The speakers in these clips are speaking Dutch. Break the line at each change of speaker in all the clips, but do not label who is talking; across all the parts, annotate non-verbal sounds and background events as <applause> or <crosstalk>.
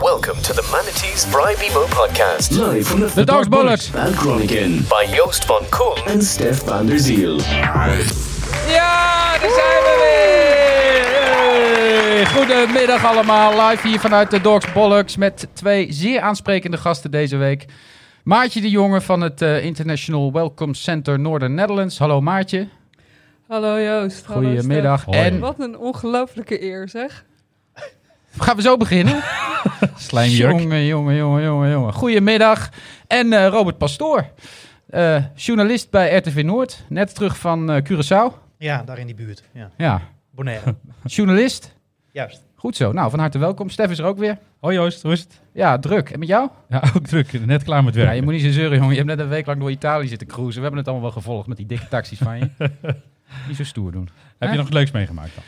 Welcome to the Manatees Bribe Emo podcast
Live from the,
The Dog's Bullet.
Van Kroniken
by Joost van Kool.
en Stef van der Ziel.
Ja, daar zijn we weer! Hey. Goedemiddag allemaal, live hier vanuit de Dogs Bollocks met twee zeer aansprekende gasten deze week. Maartje de Jonge van het eh, International Welcome Center Northern Netherlands. Hallo Maartje,
Hallo Joost. hallo
goedemiddag.
Stef.
En
Wat een ongelofelijke eer zeg.
gaan we zo beginnen?
Slijmjurk.
Jongen, jongen, jongen, jongen, jongen. Goedemiddag. En eh, Robert Pastoor, eh, journalist bij RTV Noord, net terug van eh, Curaçao.
Ja, daar in die buurt. Ja.
Ja,
Bonaire.
journalist.
Juist.
Goed zo, nou van harte welkom. Stef is er ook weer.
Hoi Joost, hoe is het?
Ja, druk. En met jou?
Ja, ook druk. Net klaar met
Ja,
werken.
je moet niet zo zeuren, jongen. Je hebt net een week lang door Italië zitten cruisen. We hebben het allemaal wel gevolgd met die dikke taxis van
<laughs>
je. niet zo stoer doen.
Heb je nog iets leuks meegemaakt dan?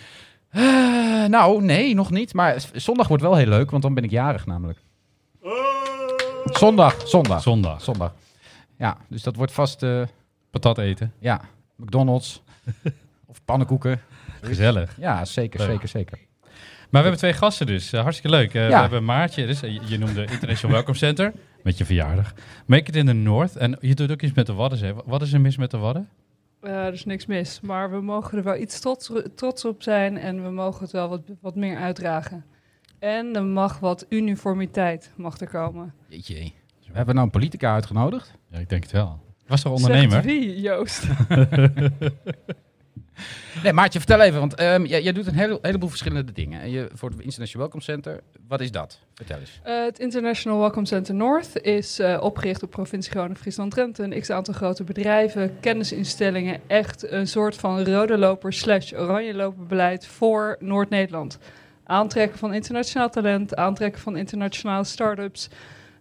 Eh, nou, nee, nog niet. Maar z- zondag wordt wel heel leuk, want dan ben ik jarig namelijk. Zondag, zondag.
Zondag.
Zondag. Ja, dus dat wordt vast, eh,
Patat eten.
ja,
<laughs>
McDonald's of pannenkoeken.
Gezellig.
Ja, zeker,
Leuk.
zeker, zeker.
Maar we hebben twee gasten dus. Eh, hartstikke leuk. Eh,
Ja.
We hebben Maartje, dus, eh, je- je noemde International Welcome Center. Met je verjaardag. Make it in the North. En je doet ook iets met de Waddenzee. Wa- Wat is er mis met de Wadden?
Eh, er is niks mis, maar we mogen er wel iets trots, trots op zijn en we mogen het wel wat, wat meer uitdragen. En er mag wat uniformiteit mag er komen.
Jeetje. We hebben nou een politica uitgenodigd.
Ja, ik denk het wel. Was er
Zegt
ondernemer?
wie, Joost?
Nee, Maartje, vertel even, want ehm, jij, jij doet een hele, heleboel verschillende dingen. En je, voor het International Welcome Center, wat is dat? Vertel eens.
Eh, het International Welcome Center North is eh, opgericht op provincie Groningen, Friesland, Drenthe. Een x-aantal grote bedrijven, kennisinstellingen. Echt een soort van rode loper slash oranje loper beleid voor Noord-Nederland. Aantrekken van internationaal talent, aantrekken van internationale start-ups.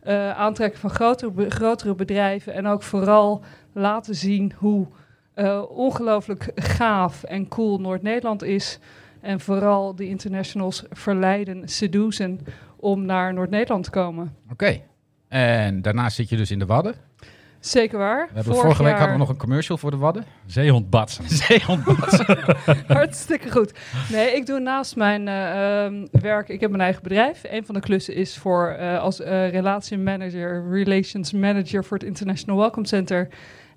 eh, aantrekken van grotere, be- grotere bedrijven. En ook vooral laten zien hoe eh, ongelooflijk gaaf en cool Noord-Nederland is. En vooral de internationals verleiden, seducen om naar Noord-Nederland te komen.
Oké. En daarnaast zit je dus in de Wadden. We
Zeker waar.
hebben vorige week
jaar-
hadden we nog een commercial voor de Wadden.
Zeehond Batsen.
<laughs>
<laughs> Hartstikke goed. Nee, ik doe naast mijn eh, ehm, werk, ik heb mijn eigen bedrijf. Een van de klussen is voor eh, als eh relatiemanager, relations manager voor het International Welcome Center.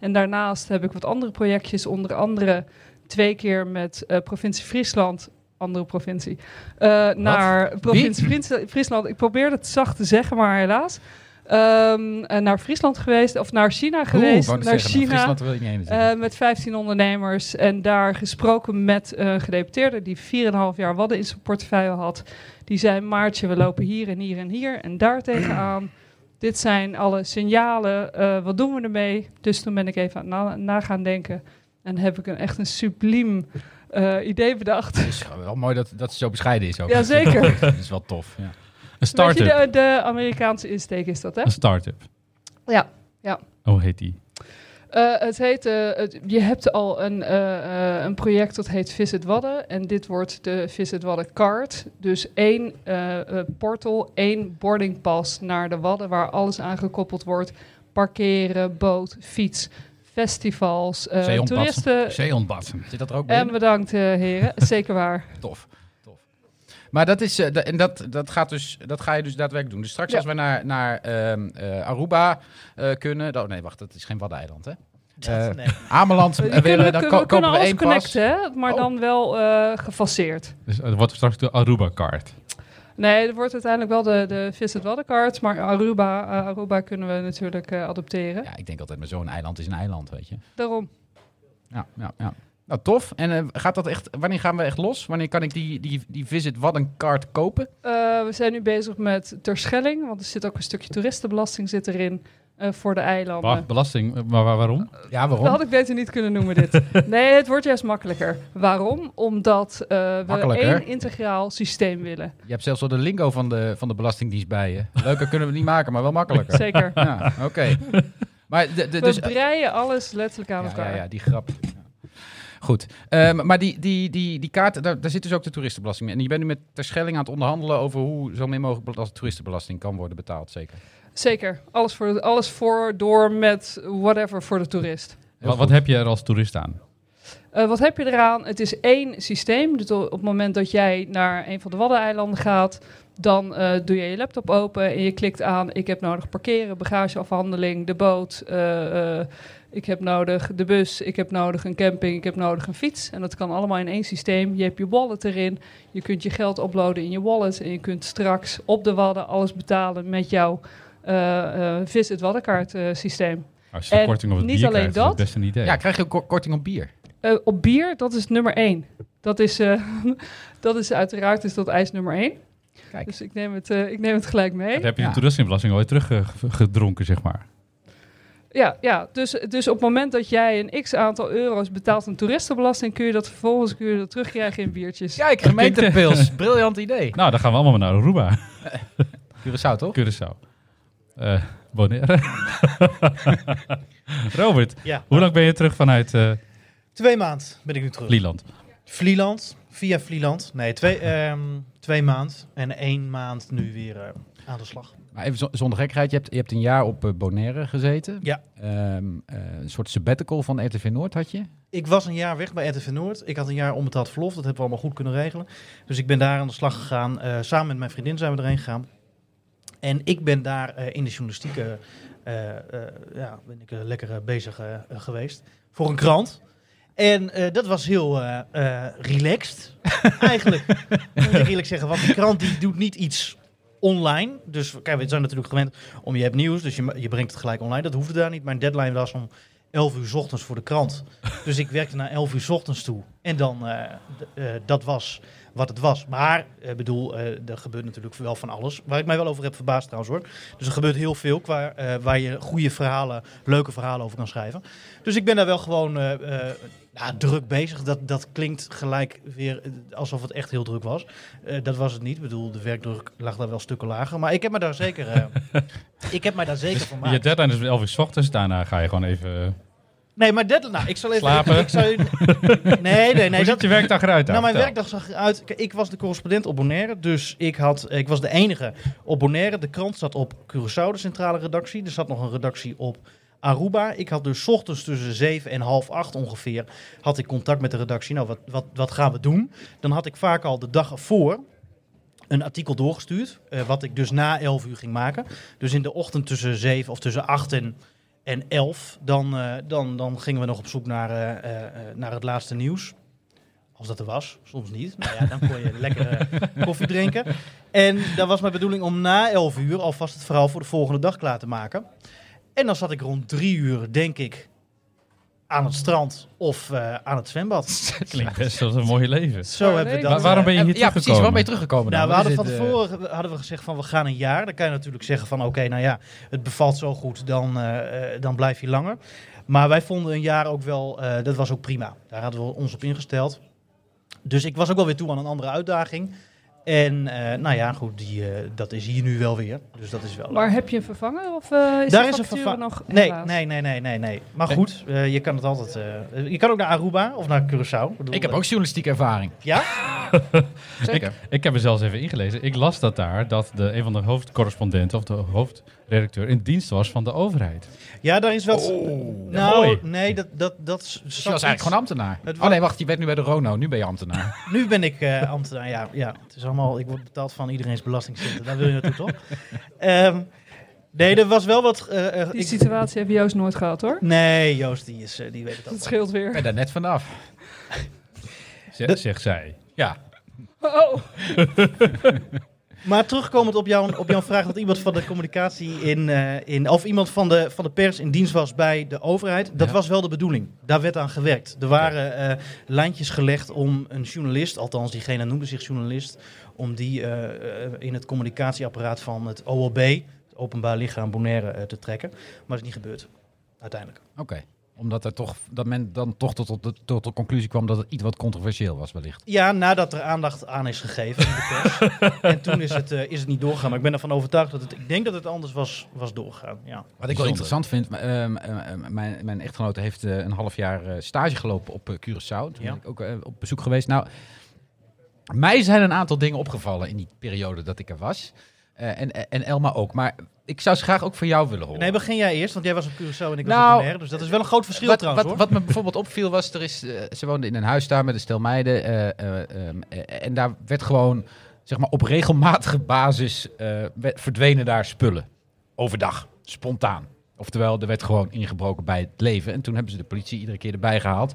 En daarnaast heb ik wat andere projectjes, onder andere twee keer met eh, provincie Friesland, andere provincie, eh, naar provincie Fries- Friesland. Ik probeer het zacht te zeggen, maar helaas. Ehm, eh, naar Friesland geweest, of naar China geweest,
Oeh, wou net
naar
zeggen, maar
China.
Friesland wil je niet heen
Eh, met 15 ondernemers en daar gesproken met eh, een gedeputeerde die 4,5 jaar Wadden in zijn portefeuille had. Die zei, Maartje, we lopen hier en hier en hier en daar tegenaan. Dit zijn alle signalen, eh, wat doen we ermee? Dus toen ben ik even aan het na, na gaan denken en heb ik een, echt een subliem eh, idee bedacht.
Het is wel mooi dat, dat ze zo bescheiden is ook.
Jazeker. Een
Dat is wel tof. Ja.
Een
beetje
start-up.
de, de Amerikaanse insteek is dat, hè?
Een start-up.
Ja, ja.
Oh, heet die.
Eh, het heet, eh, het- je hebt al een, eh, eh, een project dat heet Visit Wadden. En dit wordt de Visit Wadden Card. Dus één eh, eh, portal, één boarding pass naar de Wadden... waar alles aan gekoppeld wordt. Parkeren, boot, fiets, festivals, eh,
Zeehondpad.
toeristen.
Zeehond Batsen.
Zit dat er ook bij?
En bedankt, eh, heren. <laughs> Zeker waar.
Tof. tof. Maar dat, is, eh, da- en dat, dat, gaat dus, dat ga je dus daadwerkelijk doen. Dus straks
Ja.
als we naar, naar ehm, eh, Aruba eh, kunnen... Oh nee, wacht, dat is geen Waddeneiland, hè? Eh,
nee.
Ameland
We
eh,
kunnen,
willen, dan
we
ko-
kunnen
kopen we
alles
één pas.
connecten, hè? maar
Oh.
dan wel eh, gefaseerd.
Dus het wordt straks de Aruba-kaart.
Nee, er wordt uiteindelijk wel de, de Visit Wadden Card. Maar Aruba, eh, Aruba kunnen we natuurlijk eh, adopteren.
Ja, ik denk altijd, maar zo'n eiland is een eiland, weet je.
Daarom.
Ja, ja, ja. Nou, tof. En eh, gaat dat echt, wanneer gaan we echt los? Wanneer kan ik die, die, die Visit Waddenkaart kopen?
Eh, we zijn nu bezig met Terschelling, want er zit ook een stukje toeristenbelasting zit erin eh, voor de eilanden.
Wa- Belasting, eh, maar waar- waarom?
Ja,
Dat
waarom?
had ik beter niet kunnen noemen
<laughs>
dit. nee, het wordt juist makkelijker. Waarom? Omdat eh, we
Makkelijker.
één integraal systeem willen.
Je hebt zelfs al de lingo van de, van de Belastingdienst bij je. Leuker kunnen we het niet maken, maar wel <laughs> makkelijker.
Zeker.
Ja, oké. Maar de, de, dus... eh,
we breien alles letterlijk aan
Ja,
elkaar.
ja, ja, die grap. Ja. Goed. Ehm, maar die, die, die, die kaart, daar, daar zit dus ook de toeristenbelasting in. En je bent nu met Terschelling aan het onderhandelen over hoe zo min mogelijk bela- toeristenbelasting kan worden betaald, zeker.
Zeker. Alles voor, alles voor, door, met, whatever voor de toerist.
Heel
Wat, wat
goed.
heb je er als toerist aan?
Eh, wat heb je eraan? Het is één systeem. Dus op het moment dat jij naar een van de Waddeneilanden gaat, dan eh, doe je je laptop open en je klikt aan: ik heb nodig parkeren, bagageafhandeling, de boot. eh, eh, ik heb nodig de bus, ik heb nodig een camping, ik heb nodig een fiets. En dat kan allemaal in één systeem. Je hebt je wallet erin, je kunt je geld uploaden in je wallet. En je kunt straks op de Wadden alles betalen met jouw eh, eh, Visit Waddenkaart eh, systeem.
Als je de
En
korting op het
niet
bier
alleen
krijgt, is dat
dat.
best een idee.
Ja, krijg je ook ko- korting op bier.
Eh, op bier, dat is nummer één. Dat is, eh, <laughs> dat is uiteraard is dat ijs nummer één.
Kijk.
Dus ik neem het, eh, ik neem het gelijk mee.
Dan heb je
Ja.
de toeristenbelasting alweer teruggedronken, zeg maar.
Ja, ja dus, dus op het moment dat jij een x aantal euro's betaalt aan toeristenbelasting, kun je dat vervolgens kun je dat terugkrijgen in biertjes.
Kijk, gemeentepils. <laughs> Briljant idee.
Nou, dan gaan we allemaal maar naar Aruba.
Curaçao,
Oh.
toch?
Curaçao. Eh
<laughs>
Bonaire. Robert,
Ja.
hoe lang ben je terug vanuit eh
Twee maanden ben ik nu terug.
Lieland?
Vlieland, via Vlieland. Nee, twee, ehm, twee maanden en één maand nu weer eh, aan de slag.
Maar even zo- zonder gekheid, je hebt, je hebt een jaar op eh, Bonaire gezeten.
Ja.
Ehm, eh, een soort sabbatical van RTV Noord had je.
Ik was een jaar weg bij RTV Noord. Ik had een jaar onbetaald verlof. Dat hebben we allemaal goed kunnen regelen. Dus ik ben daar aan de slag gegaan. Eh, samen met mijn vriendin zijn we erheen gegaan. En ik ben daar eh, in de journalistiek eh, eh, eh, ja, ben ik, eh, lekker eh, bezig eh, eh, geweest. Voor een krant. En eh, dat was heel eh, eh, relaxed. Eigenlijk moet ik eerlijk zeggen. Want de krant die doet niet iets online. Dus kijk, we zijn natuurlijk gewend om je hebt nieuws. Dus je, ma- je brengt het gelijk online. Dat hoefde daar niet. Mijn deadline was om 11 uur 's ochtends voor de krant. Dus ik werkte naar 11 uur 's ochtends toe. En dan, eh, d- eh, dat was wat het was. Maar, ik bedoel, eh, er gebeurt natuurlijk wel van alles. Waar ik mij wel over heb verbaasd trouwens hoor. Dus er gebeurt heel veel qua, eh, waar je goede verhalen, leuke verhalen over kan schrijven. Dus ik ben daar wel gewoon eh, eh, nou, druk bezig. Dat, dat klinkt gelijk weer eh, alsof het echt heel druk was. Eh, dat was het niet. Ik bedoel, de werkdruk lag daar wel stukken lager. Maar ik heb me daar zeker, eh, ik heb me daar zeker van
Je deadline is 11 uur 's ochtends, daarna ga je gewoon even... eh,
Nee, maar deadline. Nou, ik zal even.
Slapen.
Ik, ik zal, nee, nee, nee.
hoe ziet
Dat,
je werkdag eruit daar?
nou, mijn
Vertel.
werkdag zag eruit. Kijk, Ik was de correspondent op Bonaire. Dus ik, had, ik was de enige op Bonaire. De krant zat op Curaçao, de centrale redactie. Er zat nog een redactie op Aruba. Ik had dus 's ochtends tussen 7 en half 8 ongeveer. had ik contact met de redactie. Nou, wat, wat, wat gaan we doen? Dan had ik vaak al de dag ervoor. Een artikel doorgestuurd, eh, wat ik dus na 11 uur ging maken. Dus in de ochtend tussen 7 of tussen 8 en, en 11, dan, eh, dan, dan gingen we nog op zoek naar, eh, eh, eh, naar het laatste nieuws. Als dat er was, soms niet. Nou ja, dan kon je <laughs> lekker eh, koffie drinken. En dat was mijn bedoeling om na 11 uur alvast het verhaal voor de volgende dag klaar te maken. En dan zat ik rond 3 uur, denk ik, aan het strand of eh, aan het zwembad.
Klinkt best als een mooie leven.
Zo hebben we
leuk.
dat. eh,
Waar- waarom ben je
En-
hier
Eh, Ja, precies. Waarom
teruggekomen?
ben je teruggekomen dan?
Nou, we
Wat
hadden
is
van
dit, eh,
tevoren ge- hadden we gezegd van we gaan een jaar. Dan kan je natuurlijk zeggen van oké, nou ja, het bevalt zo goed, dan, eh, eh, dan blijf je langer. Maar wij vonden een jaar ook wel, eh, dat was ook prima. Daar hadden we ons op ingesteld. Dus ik was ook wel weer toe aan een andere uitdaging. En eh, nou ja, goed, die, eh, dat is hier nu wel weer. Dus dat is wel. leuk.
Maar heb je een vervanger of eh, is
Daar
de
is een
factuur
verva-
nog
Nee,
helaas?
nee, nee, nee, nee, nee. Maar goed, eh, je kan het altijd. eh, je kan ook naar Aruba of naar Curaçao. Ik, bedoel,
eh,
eh,
Ik heb ook journalistieke ervaring.
Ja?
Zeker.
Ik heb er zelfs even ingelezen. Ik las dat daar, dat de, een van de hoofdcorrespondenten of de hoofdredacteur in dienst was van de overheid.
Ja, daar is wat.
Oh,
nou,
mooi.
nee, dat dat dat. is
Dus je was eigenlijk gewoon ambtenaar.
Het was-
Oh nee, wacht. Je bent nu bij de Rono. Nu ben je ambtenaar.
Nu ben ik eh ambtenaar, ja, ja. Het is allemaal, ik word betaald van iedereen's belastingcenten. Daar wil je naartoe, toch? Ehm, nee, er was wel wat... eh, eh,
Die
ik-
situatie heb Joost nooit gehad hoor.
nee, Joost, die, is, eh, die weet het
Dat
al.
scheelt
Ik
weer.
ben daar net vanaf.
Zeg,
Dat-
zegt zij.
Ja.
<laughs> Oh,
Maar terugkomend op, jou, op jouw vraag dat iemand van de communicatie in... eh, in of iemand van de, van de pers in dienst was bij de overheid. Dat
Ja.
was wel de bedoeling. Daar werd aan gewerkt. Er waren eh, lijntjes gelegd om een journalist, althans diegene noemde zich journalist... om die eh, eh, in het communicatieapparaat van het OLB, het Openbaar Lichaam Bonaire, eh, te trekken. Maar dat is niet gebeurd, uiteindelijk.
Oké. Omdat er toch, dat men dan toch tot, tot, de- tot de conclusie kwam dat het iets wat controversieel was wellicht.
Ja, nadat er aandacht aan is gegeven in de pers. en toen is het, eh, is het niet doorgegaan. Maar ik ben ervan overtuigd dat het... Ik denk dat het anders was, was doorgegaan, ja.
Wat ik wel
Bijzonder.
interessant vind, maar, ehm, ehm, ehm, mijn, mijn echtgenote heeft eh, een half jaar eh, stage gelopen op eh, Curaçao. Toen
Ja.
ben ik ook eh, op bezoek geweest. Nou, mij zijn een aantal dingen opgevallen in die periode dat ik er was. Eh, Eh, en, en Elma ook. Maar ik zou ze graag ook van jou willen horen.
Oh. Nee, begin jij eerst, want jij was op Curaçao en ik was
Nou,
op Bonaire. Dus dat is wel een groot verschil
wat,
trouwens,
wat,
hoor.
wat me bijvoorbeeld opviel was, er is, eh, ze woonde in een huis daar met een stel meiden. eh, eh, ehm, eh, en daar werd gewoon, zeg maar, op regelmatige basis eh, werd- verdwenen daar spullen. Overdag, spontaan. Oftewel, er werd gewoon ingebroken bij het leven. En toen hebben ze de politie iedere keer erbij gehaald.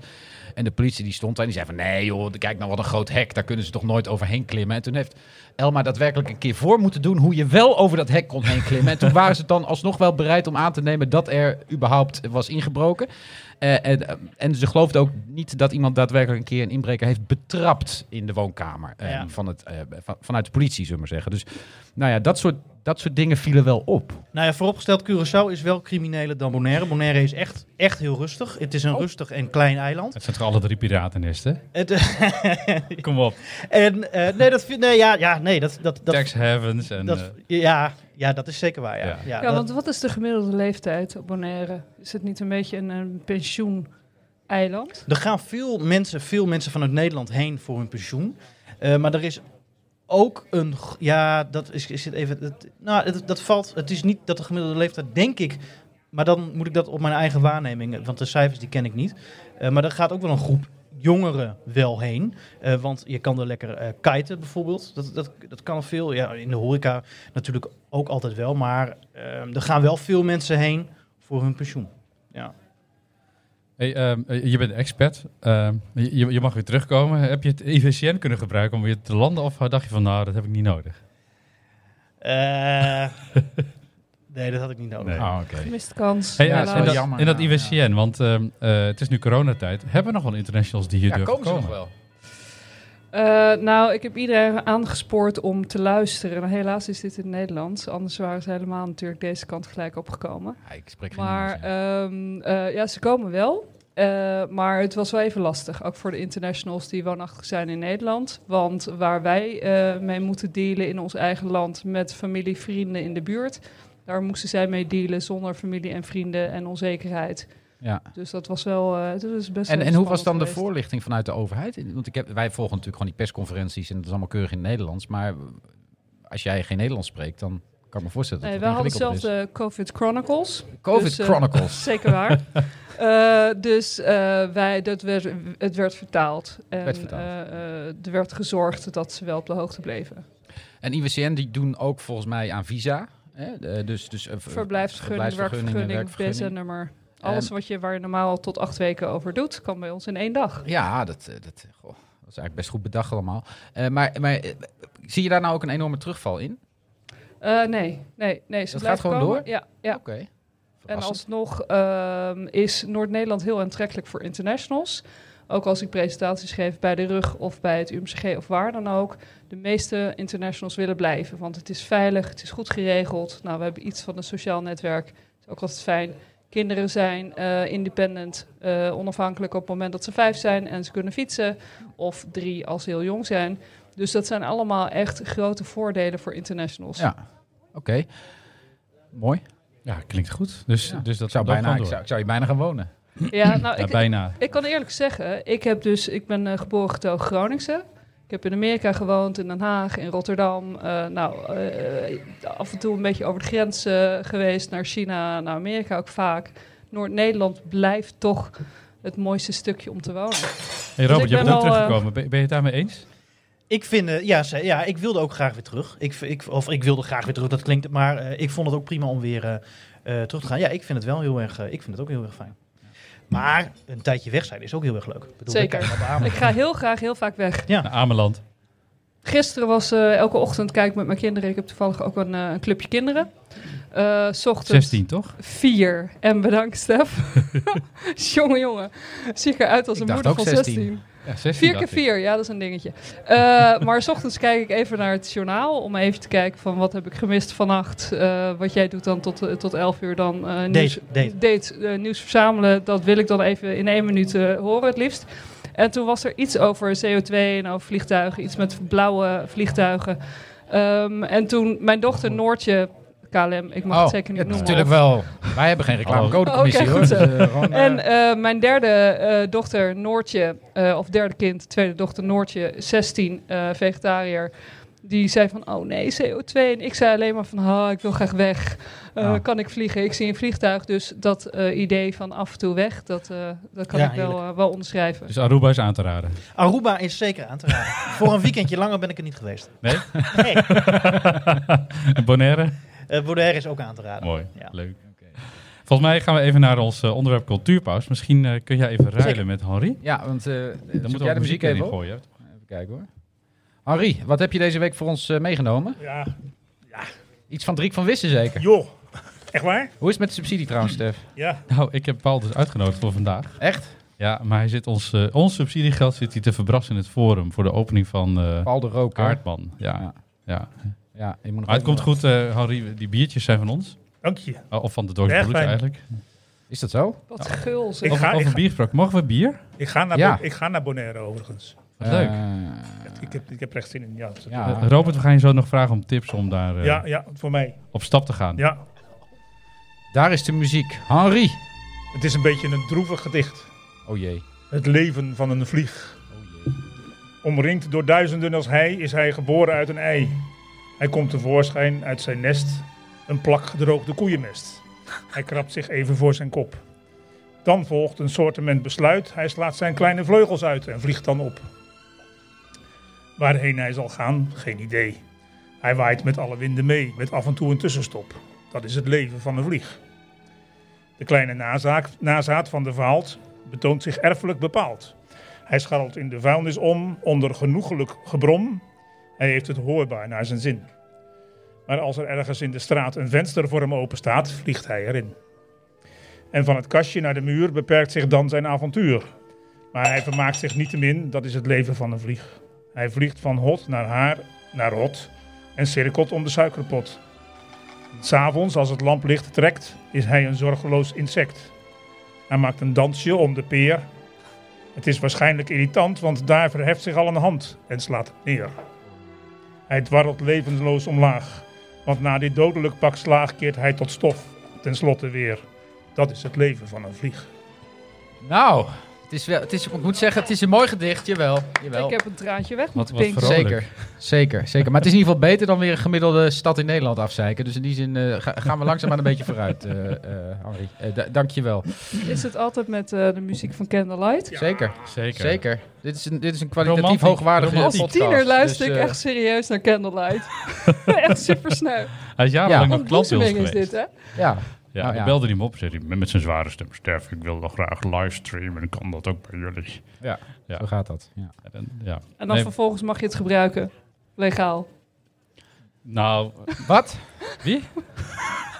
En de politie die stond daar en die zei van... Nee joh, kijk nou wat een groot hek. Daar kunnen ze toch nooit overheen klimmen. En toen heeft Elma daadwerkelijk een keer voor moeten doen... hoe je wel over dat hek kon heen klimmen. En toen waren ze het dan alsnog wel bereid om aan te nemen... dat er überhaupt was ingebroken. Eh, en, eh, en ze geloofde ook niet dat iemand daadwerkelijk een keer een inbreker heeft betrapt in de woonkamer. eh,
Ja.
van het, eh, van- vanuit de politie, zullen we maar zeggen. Dus nou ja, dat soort, dat soort dingen vielen wel op.
Nou ja, vooropgesteld, Curaçao is wel crimineler dan Bonaire. Bonaire is echt, echt heel rustig. Het is
Oh.
een rustig en klein eiland.
Het zijn toch alle drie piratennesten?
Het, <laughs>
Kom op.
en eh, nee, dat, vind- nee, ja, ja, nee, dat, dat, dat,
Tax heavens en...
dat
eh,
ja, ja, dat is zeker waar, ja.
Ja.
Ja,
ja. dat-
want wat is de gemiddelde leeftijd op Bonaire? Is het niet een beetje een, een pensioen-eiland?
Er gaan veel mensen, veel mensen vanuit Nederland heen voor hun pensioen. Eh, maar er is ook een. g- Ja, dat is, is het even. het- nou, het, dat valt. Het is niet dat de gemiddelde leeftijd, denk ik. Maar dan moet ik dat op mijn eigen waarneming. eh, Want de cijfers die ken ik niet. Eh, maar er gaat ook wel een groep jongeren wel heen. Eh, want je kan er lekker eh kiten bijvoorbeeld. Dat, dat, dat kan veel. Ja, in de horeca natuurlijk ook altijd wel. Maar eh, er gaan wel veel mensen heen voor hun pensioen.
Hey, ehm, eh, je bent expert. Ehm, je, je- je mag weer terugkomen. Heb je het IVCM kunnen gebruiken om weer te landen? Of dacht je van, nou, dat heb ik niet nodig?
Eh, nee, dat had ik niet nodig.
Oh.
Ah, oké.
Mist kans.
Hey, ja,
helaas.
dat is wel
en, dat,
jammer,
en dat
ja,
IWCN, want ehm, eh, het is nu coronatijd. Hebben we nog wel internationals die hier durven komen?
wel?
Eh, nou, ik heb iedereen aangespoord om te luisteren. En helaas is dit in het Nederlands. Anders waren ze helemaal natuurlijk deze kant gelijk opgekomen.
Ja, ik spreek geen
Maar
Engels, ja.
ehm, eh, ja, ze komen wel. Eh, maar het was wel even lastig. Ook voor de internationals die woonachtig zijn in Nederland. Want waar wij eh, mee moeten dealen in ons eigen land met familie, vrienden in de buurt. Daar moesten zij mee dealen zonder familie en vrienden en onzekerheid.
Ja.
Dus dat was wel. eh, dat is best
En,
wel
en hoe was
spannend
dan de
geweest.
voorlichting vanuit de overheid? Want ik heb, wij volgen natuurlijk gewoon die persconferenties en dat is allemaal keurig in het Nederlands. Maar als jij geen Nederlands spreekt, dan kan ik me voorstellen dat
Nee,
het
wij hadden zelf
ingewikkelder is.
de COVID Chronicles.
COVID
dus, eh,
Chronicles.
Zeker
<laughs>
waar. Eh, dus eh, wij, dat werd, het werd vertaald. En
Werd vertaald.
eh, eh, er werd gezorgd dat ze wel op de hoogte bleven.
En IWCN die doen ook volgens mij aan visa. Hè? De- dus, dus, eh, ver-
Verblijfsvergunning,
verblijfsvergunningen,
werkvergunning,
werkvergunningen.
BSN-nummer. Alles wat je, waar je normaal al tot acht weken over doet, kan bij ons in één dag.
Ja, dat, eh, dat, goh, dat is eigenlijk best goed bedacht allemaal. Eh, maar maar eh, zie je daar nou ook een enorme terugval in?
Eh, nee, nee, nee. Ze
Dat
blijven
gaat gewoon
komen.
door?
Ja, ja.
Oké.
En
Verrassend.
alsnog ehm, is Noord-Nederland heel aantrekkelijk voor internationals. Ook als ik presentaties geef bij de RUG of bij het UMCG of waar dan ook. De meeste internationals willen blijven, want het is veilig, het is goed geregeld. Nou, we hebben iets van een sociaal netwerk, dat is ook altijd fijn. Kinderen zijn eh, independent, eh, onafhankelijk op het moment dat ze vijf zijn en ze kunnen fietsen. Of drie als ze heel jong zijn. Dus dat zijn allemaal echt grote voordelen voor internationals.
Ja, oké. Mooi.
Ja, klinkt goed. Dus,
Ja.
dus dat
Ik zou,
loopt
bijna,
gewoon
ik,
door.
zou, ik zou hier bijna gaan wonen.
Ja, nou,
Ja,
ik,
bijna.
Ik kan eerlijk zeggen, ik, heb dus, ik ben eh, geboren getogen Groningse. Ik heb in Amerika gewoond, in Den Haag, in Rotterdam. Eh, nou, eh, af en toe een beetje over de grens eh, geweest naar China, naar Amerika ook vaak. Noord-Nederland blijft toch het mooiste stukje om te wonen.
Hey Robert,
Dus
ik
je
ben
bent ook
wel, eh,
teruggekomen. Ben, ben je het daarmee eens?
Ik vind, eh, ja, ze- ja, ik wilde ook graag weer terug. Ik, v- ik, of ik wilde graag weer terug, dat klinkt, maar eh, ik vond het ook prima om weer eh, eh, terug te gaan. Ja, ik vind het wel heel erg, eh, ik vind het ook heel erg fijn. Maar een tijdje weg zijn is ook heel erg leuk. Ik bedoel,
Zeker.
dat kan je wel beamen.
Ik <laughs> ga heel graag, heel vaak weg.
Ja.
Naar Ameland.
Gisteren was eh, elke ochtend kijk ik met mijn kinderen. Ik heb toevallig ook een, eh, een clubje kinderen. Eh, 's ochtends
16, toch?
Vier. En bedankt, Stef. <laughs> jongen, jongen. Zie ik eruit als
Ik
een
dacht
moeder
ook
van
16.
16.
Ja, 16
Vier keer
dacht ik.
vier, ja, dat is een dingetje. Eh, maar s ochtends kijk ik even naar het journaal om even te kijken van wat heb ik gemist vannacht. Eh, wat jij doet dan tot, eh, tot elf uur dan eh, nieuws,
date.
eh, nieuws verzamelen. Dat wil ik dan even in één minuut eh, horen het liefst. En toen was er iets over CO2 en over vliegtuigen, iets met blauwe vliegtuigen. Ehm, en toen mijn dochter Noortje, KLM, ik mag het zeker niet
ja,
noemen.
natuurlijk wel. Wij hebben geen reclamecodecommissie
Oké,
hoor.
goed zo.
Dus, eh, gewoon, eh,
En eh, mijn derde eh, dochter Noortje, eh, of derde kind, tweede dochter Noortje, 16, eh, vegetariër. Die zei van, oh nee, CO2. En ik zei alleen maar van, ah, ik wil graag weg. Eh,
Ah.
Kan ik vliegen? Ik zie een vliegtuig. Dus dat eh, idee van af en toe weg, dat, eh, dat kan
Ja,
ik wel,
heerlijk.
eh, wel onderschrijven.
Dus Aruba is aan te raden.
Aruba is zeker aan te raden. Voor een weekendje langer ben ik er niet geweest.
Nee?
Nee.
En Bonaire?
Eh Baudet is ook aan te raden.
Mooi,
Ja.
leuk. Volgens mij gaan we even naar ons eh, onderwerp cultuurpauze. Misschien eh, kun jij even ruilen
Zeker.
met Henri.
Ja, want eh
Dan
zoek
moeten we
jij
ook
de muziek
erin
even op?
gooien.
Even kijken hoor. Henri, wat heb je deze week voor ons eh, meegenomen?
Ja,
Iets van Driek van Wissen zeker.
joh. <laughs> Echt waar?
Hoe is het met de subsidie trouwens, Stef?
Ja.
Nou, ik heb Paul dus uitgenodigd voor vandaag.
Echt?
Ja, maar hij zit ons, eh, ons subsidiegeld zit hij te verbrassen in het forum voor de opening van eh
Paul de Rook. hoor.
Aardman.
Ja.
Ja. ja.
Ja, je moet nog
Maar het
even-
komt goed, eh Henri. Die biertjes zijn van ons.
Dank je.
Oh, Of van de Dorst
Echt
Blues
fijn.
eigenlijk.
Is dat zo?
Wat gul zeg.
Ik ga,
Over,
ik
over
ga,
bier gesproken. Mogen we bier?
ik ga, naar,
Ja.
ik ga naar Bonaire overigens.
Wat leuk.
Eh,
Ik heb, ik heb er echt zin in. Ja, ja.
ja.
Eh, Robert, we gaan je zo nog vragen om tips om daar eh,
ja, voor mij.
op stap te gaan.
Ja.
Daar is de muziek. Henri.
Het is een beetje een droevig gedicht.
Oh jee.
Het leven van een vlieg.
Oh jee.
Omringd door duizenden als hij is hij geboren uit een ei. Hij komt tevoorschijn uit zijn nest, een plak gedroogde koeienmest. Hij krabt zich even voor zijn kop. Dan volgt een soortement besluit. Hij slaat zijn kleine vleugels uit en vliegt dan op. Waarheen hij zal gaan, geen idee. Hij waait met alle winden mee, met af en toe een tussenstop. Dat is het leven van een vlieg. De kleine nazaak, nazaat van de verhaald betoont zich erfelijk bepaald. Hij scharrelt in de vuilnis om, onder genoegelijk gebrom. Hij heeft het hoorbaar naar zijn zin. Maar als er ergens in de straat een venster voor hem open staat, vliegt hij erin. En van het kastje naar de muur beperkt zich dan zijn avontuur. Maar hij vermaakt zich niettemin, dat is het leven van een vlieg. Hij vliegt van hot naar haar, naar rot en cirkelt om de suikerpot. S'avonds, als het lamplicht trekt, is hij een zorgeloos insect. Hij maakt een dansje om de peer het is waarschijnlijk irritant, want daar verheft zich al een hand en slaat het neer. Hij dwarrelt levensloos omlaag, want na dit dodelijk pak slaag keert hij tot stof, ten slotte weer. Dat is het leven van een vlieg.
Nou, het is wel, het is, ik moet zeggen, het is een mooi gedicht. Jawel. jawel.
Ik heb een traantje weg
Wat,
moeten
wat
pinken.
vrolijk.
Zeker, zeker, zeker. Maar het is in ieder geval beter dan weer een gemiddelde stad in Nederland afzeiken. Dus in die zin eh, ga- gaan we langzaamaan een beetje vooruit, eh eh Henri. Eh, da- dank je wel.
Is het altijd met eh, de muziek van Candlelight?
Zeker,
Zeker.
zeker. Dit is een, dit is een kwalitatief
Romantiek,
hoogwaardige
romantiek.
Als
podcast.
tiener luister
Dus,
ik
eh,
echt serieus naar Candlelight. echt super snel.
Hij is jarenlang nog klant bij ons
Ontboezeming is
geweest.
dit, hè?
Ja,
Ja,
Nou
ik
ja.
belde hem op, zei hij met met zijn zware stem. Stef, ik wil nog graag livestreamen, kan dat ook bij jullie?
ja,
Ja.
zo gaat dat. Ja.
En dan- ja.
En dan
Nee,
vervolgens mag je het gebruiken. Legaal.
Nou,
Wat?
Wie? <laughs>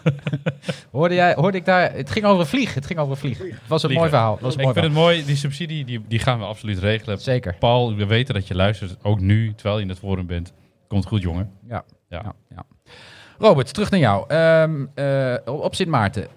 hoorde, jij, hoorde ik daar... Het ging over een vlieg. Het ging over een vlieg. Het was een
Vliegen.
mooi verhaal. Het was een
ik
mooi
vind
verhaal.
het mooi, die subsidie die, die gaan we absoluut regelen.
Zeker.
Paul, we weten dat je luistert, ook nu, terwijl je in het forum bent. Komt goed, jongen.
Ja.
Ja.
Ja, ja. Robert, terug naar jou. Ehm, eh, op op Sint Maarten.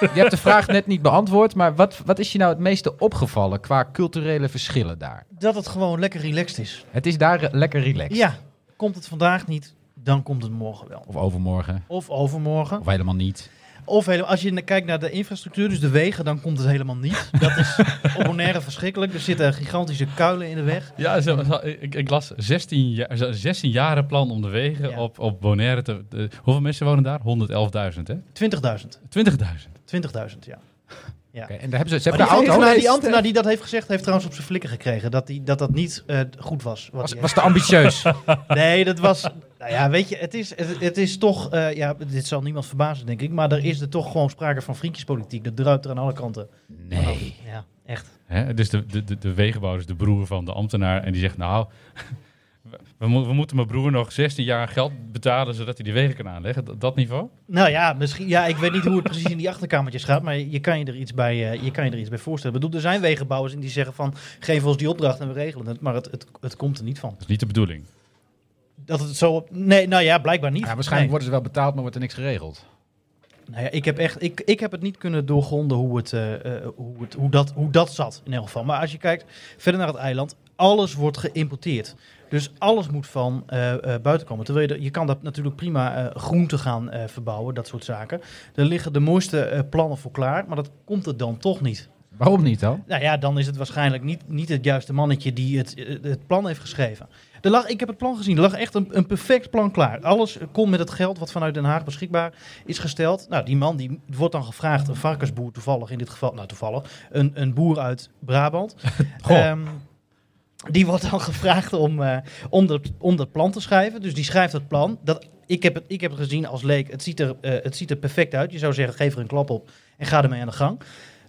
je hebt de vraag net niet beantwoord, maar wat, wat is je nou het meeste opgevallen qua culturele verschillen daar?
Dat het gewoon lekker relaxed is.
Het is daar eh, lekker relaxed.
Ja, komt het vandaag niet, dan komt het morgen wel.
Of overmorgen,
Of overmorgen.
of helemaal niet.
Of helemaal, als je na- kijkt naar de infrastructuur, dus de wegen, dan komt het helemaal niet. Dat is op Bonaire verschrikkelijk. Er zitten gigantische kuilen in de weg.
Ja, zo- zo- ik, ik las 16, ja, zo- 16 jaren plan om de wegen
Ja.
op, op Bonaire te... de- hoeveel mensen wonen daar? 111.000, hè?
20.000.
20.000.
20.000, ja.
Oké, en daar hebben ze, ze
Maar
hebben
die,
de auto.
ambtenaar, die
Leest,
ambtenaar die dat heeft gezegd, heeft trouwens op zijn flikken gekregen. Dat die, dat, dat niet eh, goed was. Wat
Was,
hij
was te <laughs> ambitieus.
Nee, dat was. Nou ja, weet je, het is, het, het is toch. eh, ja, dit zal niemand verbazen, denk ik. Maar er is er toch gewoon sprake van vriendjespolitiek. Dat druipt er aan alle kanten.
Nee.
Ja, echt.
Hè? Dus de, de, de, de wegenbouwer is de broer van de ambtenaar. En die zegt, nou, <laughs> we, mo- we moeten mijn broer nog 16 jaar geld betalen... zodat hij die wegen kan aanleggen. Dat, dat niveau?
Nou ja, misschien. Ja, ik weet niet hoe het precies in die achterkamertjes gaat. Maar je kan je er iets bij, eh, je kan je er iets bij voorstellen. Ik bedoel, er zijn wegenbouwers en die zeggen van. Geef ons die opdracht en we regelen het. Maar het, het, het komt er niet van.
Dat is niet de bedoeling.
Dat het zo. Op, nee, nou ja, blijkbaar niet.
Ja, waarschijnlijk
Nee.
worden ze wel betaald, maar wordt er niks geregeld.
Nou ja, ik heb echt, ik, ik heb het niet kunnen doorgronden hoe, het, eh, eh, hoe, het, hoe, dat, hoe dat zat in elk geval. Maar als je kijkt verder naar het eiland, alles wordt geïmporteerd. Dus alles moet van eh, eh, buiten komen. Terwijl je, de- je kan dat natuurlijk prima eh, groente gaan eh, verbouwen, dat soort zaken. Er liggen de mooiste eh, plannen voor klaar, maar dat komt er dan toch niet.
Waarom niet dan?
Nou ja, dan is het waarschijnlijk niet, niet het juiste mannetje die het, eh, het plan heeft geschreven. Er lag, ik heb het plan gezien. Er lag echt een, een perfect plan klaar. Alles kon met het geld wat vanuit Den Haag beschikbaar is gesteld. Nou, die man die wordt dan gevraagd, een varkensboer toevallig in dit geval, nou toevallig, een, een boer uit Brabant.
Goh.
Ehm, die wordt dan <laughs> gevraagd om, eh, om, dat, om dat plan te schrijven. Dus die schrijft het plan. Dat, ik, heb het, ik heb het gezien als leek. Het ziet, er, eh, het ziet er perfect uit. Je zou zeggen, geef er een klap op en ga ermee aan de gang.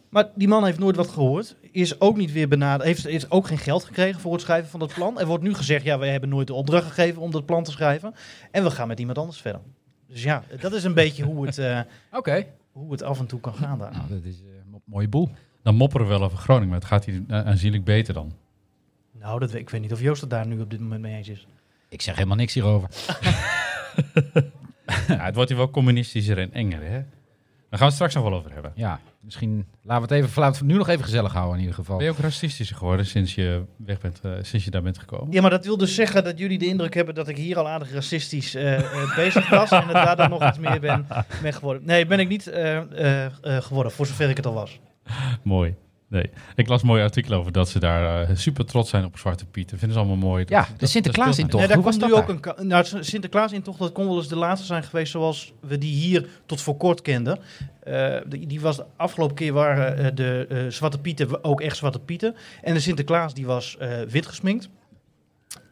Maar die man heeft nooit wat gehoord. Is ook niet weer benaderd. Heeft, heeft ook geen geld gekregen voor het schrijven van dat plan. Er wordt nu gezegd: ja, wij hebben nooit de opdracht gegeven om dat plan te schrijven. En we gaan met iemand anders verder. Dus ja, dat is een beetje hoe het, eh,
Oké.
hoe het af en toe kan gaan daar.
Nou, dat is eh, een mo- mooie boel.
Dan mopperen we wel over Groningen, maar het gaat hier eh, aanzienlijk
<laughs>
beter dan.
Nou, dat, weet- ik weet niet of Joost het daar nu op dit moment mee eens is.
Ik zeg helemaal niks hierover.
Ja, het wordt hier wel communistischer en enger, hè? Daar gaan we het straks nog wel over hebben.
Ja, misschien laten we het even, laten we het nu nog even gezellig houden in ieder geval.
Ben je ook racistischer geworden sinds je, weg bent, eh, sinds je daar bent gekomen? <laughs>
Ja, maar dat wil dus zeggen dat jullie de indruk hebben dat ik hier al aardig racistisch eh, eh, bezig was. En dat daar dan nog iets meer ben, ben geworden. Nee, ben ik niet eh, eh, eh, geworden, voor zover ik het al was.
Mooi. Nee. Ik las een mooi artikel over dat ze daar eh, super trots zijn op Zwarte Piet. Dat vinden ze allemaal mooi. Dat-
Ja,
dat-
de
dat
Sinterklaas in
speelt-
toch?
Nee, daar
Hoe
komt
was
nu
dat
ook een ka- nou, het Sinterklaas in toch, dat kon wel eens de laatste zijn geweest zoals we die hier tot voor kort kenden. Eh, die, die was de afgelopen keer waren eh, de eh, Zwarte Pieten wa- ook echt Zwarte Pieten. En de Sinterklaas die was eh, wit gesminkt.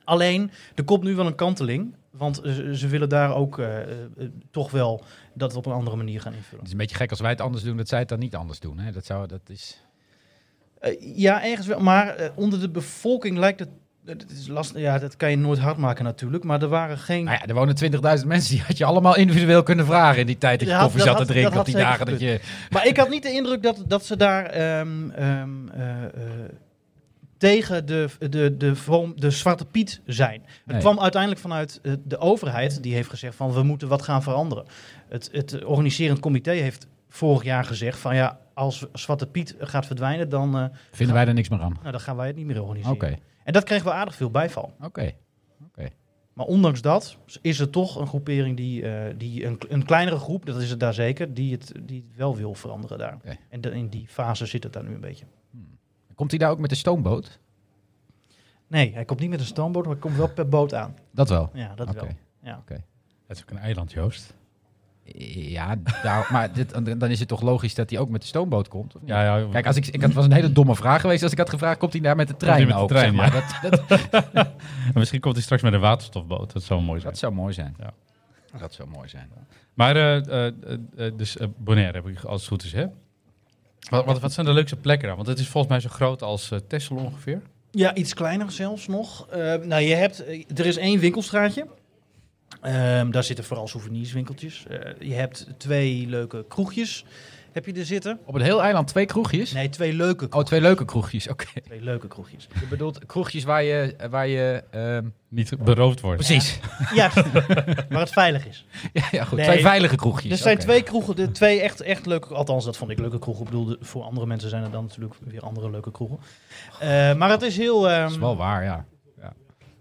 Alleen, er komt nu wel een kanteling. Want eh, ze- ze willen daar ook eh, eh, eh, toch wel dat op een andere manier gaan invullen.
Het is een beetje gek als wij het anders doen, dat zij het dan niet anders doen. Hè? Dat, zou, dat is...
Eh, ja, ergens wel. Maar eh, onder de bevolking lijkt het... eh, Het is lastig, ja, dat kan je nooit hard maken natuurlijk. Maar er waren geen...
Nou ja, er wonen 20.000 mensen, die had je allemaal individueel kunnen vragen in die tijd dat je
Dat had-
koffie
dat
zat te
had-
drinken.
dat
Of die
had
dagen
zeker
dat je...
Maar ik had niet de indruk dat, dat ze daar ehm, ehm, eh, eh, tegen de, de, de, vorm- de Zwarte Piet zijn. Het
Nee.
kwam uiteindelijk vanuit eh, de overheid, die heeft gezegd van we moeten wat gaan veranderen. Het, het organiserend comité heeft vorig jaar gezegd van ja, als Zwarte Piet gaat verdwijnen, dan, eh,
Vinden wij er niks meer aan.
nou, dan gaan wij het niet meer
Oké,
organiseren. En dat kreeg wel aardig veel bijval.
oké.
Maar ondanks dat is er toch een groepering die, eh, die een, een kleinere groep, dat is het daar zeker, die het, die het wel wil veranderen daar.
Oké.
En de- in die fase zit het daar nu een beetje.
Komt hij daar ook met de stoomboot?
Nee, hij komt niet met een stoomboot, maar hij komt wel per boot aan.
Dat wel.
Ja, dat
Oké.
wel. Ja.
Het is ook een eiland, Joost.
Ja, daar, <laughs> maar dit, dan is het toch logisch dat hij ook met de stoomboot komt? Of niet?
Ja, ja.
Kijk, als ik, ik, het was een hele domme vraag geweest als ik had gevraagd, komt hij daar met de trein
hij met de
ook, zeg
trein,
maar.
<laughs>
Dat, dat,
En misschien komt hij straks met een waterstofboot. Dat zou mooi zijn.
dat zou mooi zijn.
Ja.
Dat zou mooi zijn.
Maar, eh, eh, eh, eh, dus eh, Bonaire heb ik als het goed is, hè? Wat, wat, wat zijn de leukste plekken daar? Want het is volgens mij zo groot als eh Texel ongeveer.
ja, iets kleiner zelfs nog. Eh, nou, je hebt, eh, er is één winkelstraatje. Ehm, daar zitten vooral souvenirswinkeltjes. Eh, je hebt twee leuke kroegjes. Heb je er zitten?
Op het heel eiland twee kroegjes?
Nee, twee leuke,
Oh, twee leuke kroegjes, oké.
twee leuke kroegjes.
Je bedoelt kroegjes waar je... eh, Waar je ehm,
Niet beroofd worden.
precies.
ja, <laughs> waar het veilig
<laughs>
is.
Ja, ja goed.
Nee.
Twee veilige kroegjes.
Er zijn
oké.
twee kroegen, de twee echt, echt leuke, althans dat vond ik leuke kroegen. Ik bedoel, de- voor andere mensen zijn er dan natuurlijk weer andere leuke kroegen. Eh, maar het is heel... ehm,
Dat is wel waar, ja.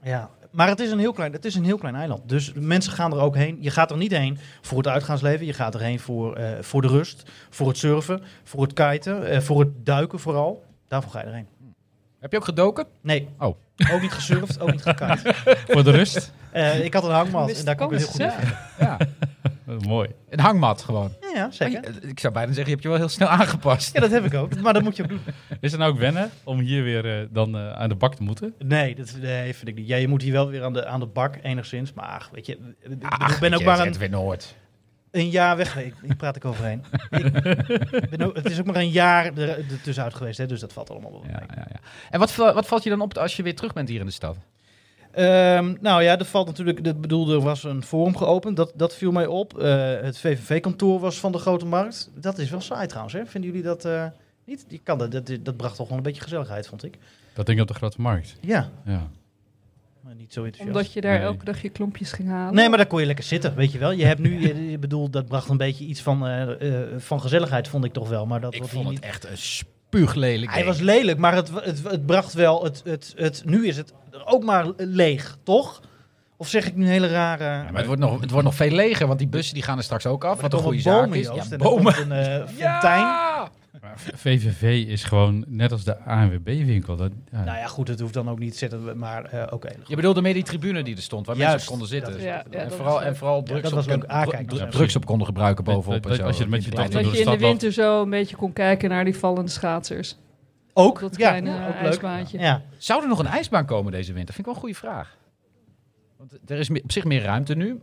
Ja, maar het is, een heel klein, het is een heel klein eiland. Dus mensen gaan er ook heen. Je gaat er niet heen voor het uitgaansleven. Je gaat erheen voor, eh, voor de rust, voor het surfen, voor het kiten, eh, voor het duiken vooral. Daarvoor ga je erheen.
Heb je ook gedoken?
Nee,
Oh.
ook niet gesurfd, ook niet gekite.
<laughs>
Voor de rust.
Eh, ik had een hangmat en
Mist
daar kon ik het heel goed
kans,
in.
Ja.
Eh, mooi.
Een hangmat gewoon.
Ja, ja, zeker.
Eh, Ik zou bijna zeggen, je hebt je wel heel snel <laughs> aangepast.
Ja, dat heb ik ook. Maar dat moet je ook doen.
Is het nou ook wennen om hier weer eh, dan eh, aan de bak te moeten?
Nee, dat nee, vind ik niet. Ja, je moet hier wel weer aan de, aan de bak enigszins. Maar ach, weet je, ik bedoel,
Ach,
ik ben ook
je,
maar
het
een,
weer nooit.
een jaar weg. Ik, ik praat ik
<laughs>
overheen. ik ben ook, het is ook maar een jaar er, er tussenuit geweest, hè, dus dat valt allemaal wel mee.
Ja, ja, ja. En wat, val- wat valt je dan op als je weer terug bent hier in de stad?
Ehm, nou ja, er valt natuurlijk. Ik bedoel, er was een forum geopend. Dat, dat viel mij op. Eh, het VVV-kantoor was van de grote markt. Dat is wel saai trouwens. Hè? Vinden jullie dat eh, niet? Je kan dat, dat, dat bracht toch wel een beetje gezelligheid, vond ik.
Dat ding op de grote markt.
Ja,
Ja.
maar niet zo enthousiast.
Omdat je daar
Nee.
elke dag je klompjes ging halen.
Nee, maar daar kon je lekker zitten, weet je wel. Je hebt nu, je, je bedoel, dat bracht een beetje iets van, eh, eh, van gezelligheid, vond ik toch wel. Maar dat
Ik
wordt
vond
hier
het
niet.
echt een spuuglelijk
Hij
ding.
was lelijk, maar het, het, het bracht wel. Het, het, het, nu is het ook maar leeg, toch? Of zeg ik nu een hele rare.
Ja, maar het wordt, nog, het wordt nog veel leger, want die bussen die gaan er straks ook af.
Maar
Wat
er
een
komen
goede
bomen,
zaak is.
Joost,
Ja,
en er
bomen.
komt een eh, fontein.
Ja!
Maar Maar V- VVV is gewoon net als de ANWB-winkel. Dat, ja.
Nou ja, goed, het hoeft dan ook niet zitten, maar eh, oké.
Je bedoelde meer die tribune die er stond, waar
Juist,
mensen op konden zitten.
dat
is- Ja, ja,
en,
dat
vooral,
is-
en vooral
Ja,
drugs,
dat was
op,
leuk. Aankijken,
dru-
ja,
drugs op konden gebruiken
Dat-
bovenop.
dat-
en
dat-
zo.
als je het met je
kleine-
dochter
Dat
door
je
de
in de
stad loopt.
winter zo een beetje kon kijken naar die vallende schaatsers.
Ook?
Dat
Ja,
kleine eh,
ook leuk.
ijsbaantje.
Ja,
Zou er nog een ijsbaan komen deze winter? Vind ik wel een goede vraag. Want er is meer- op zich meer ruimte nu.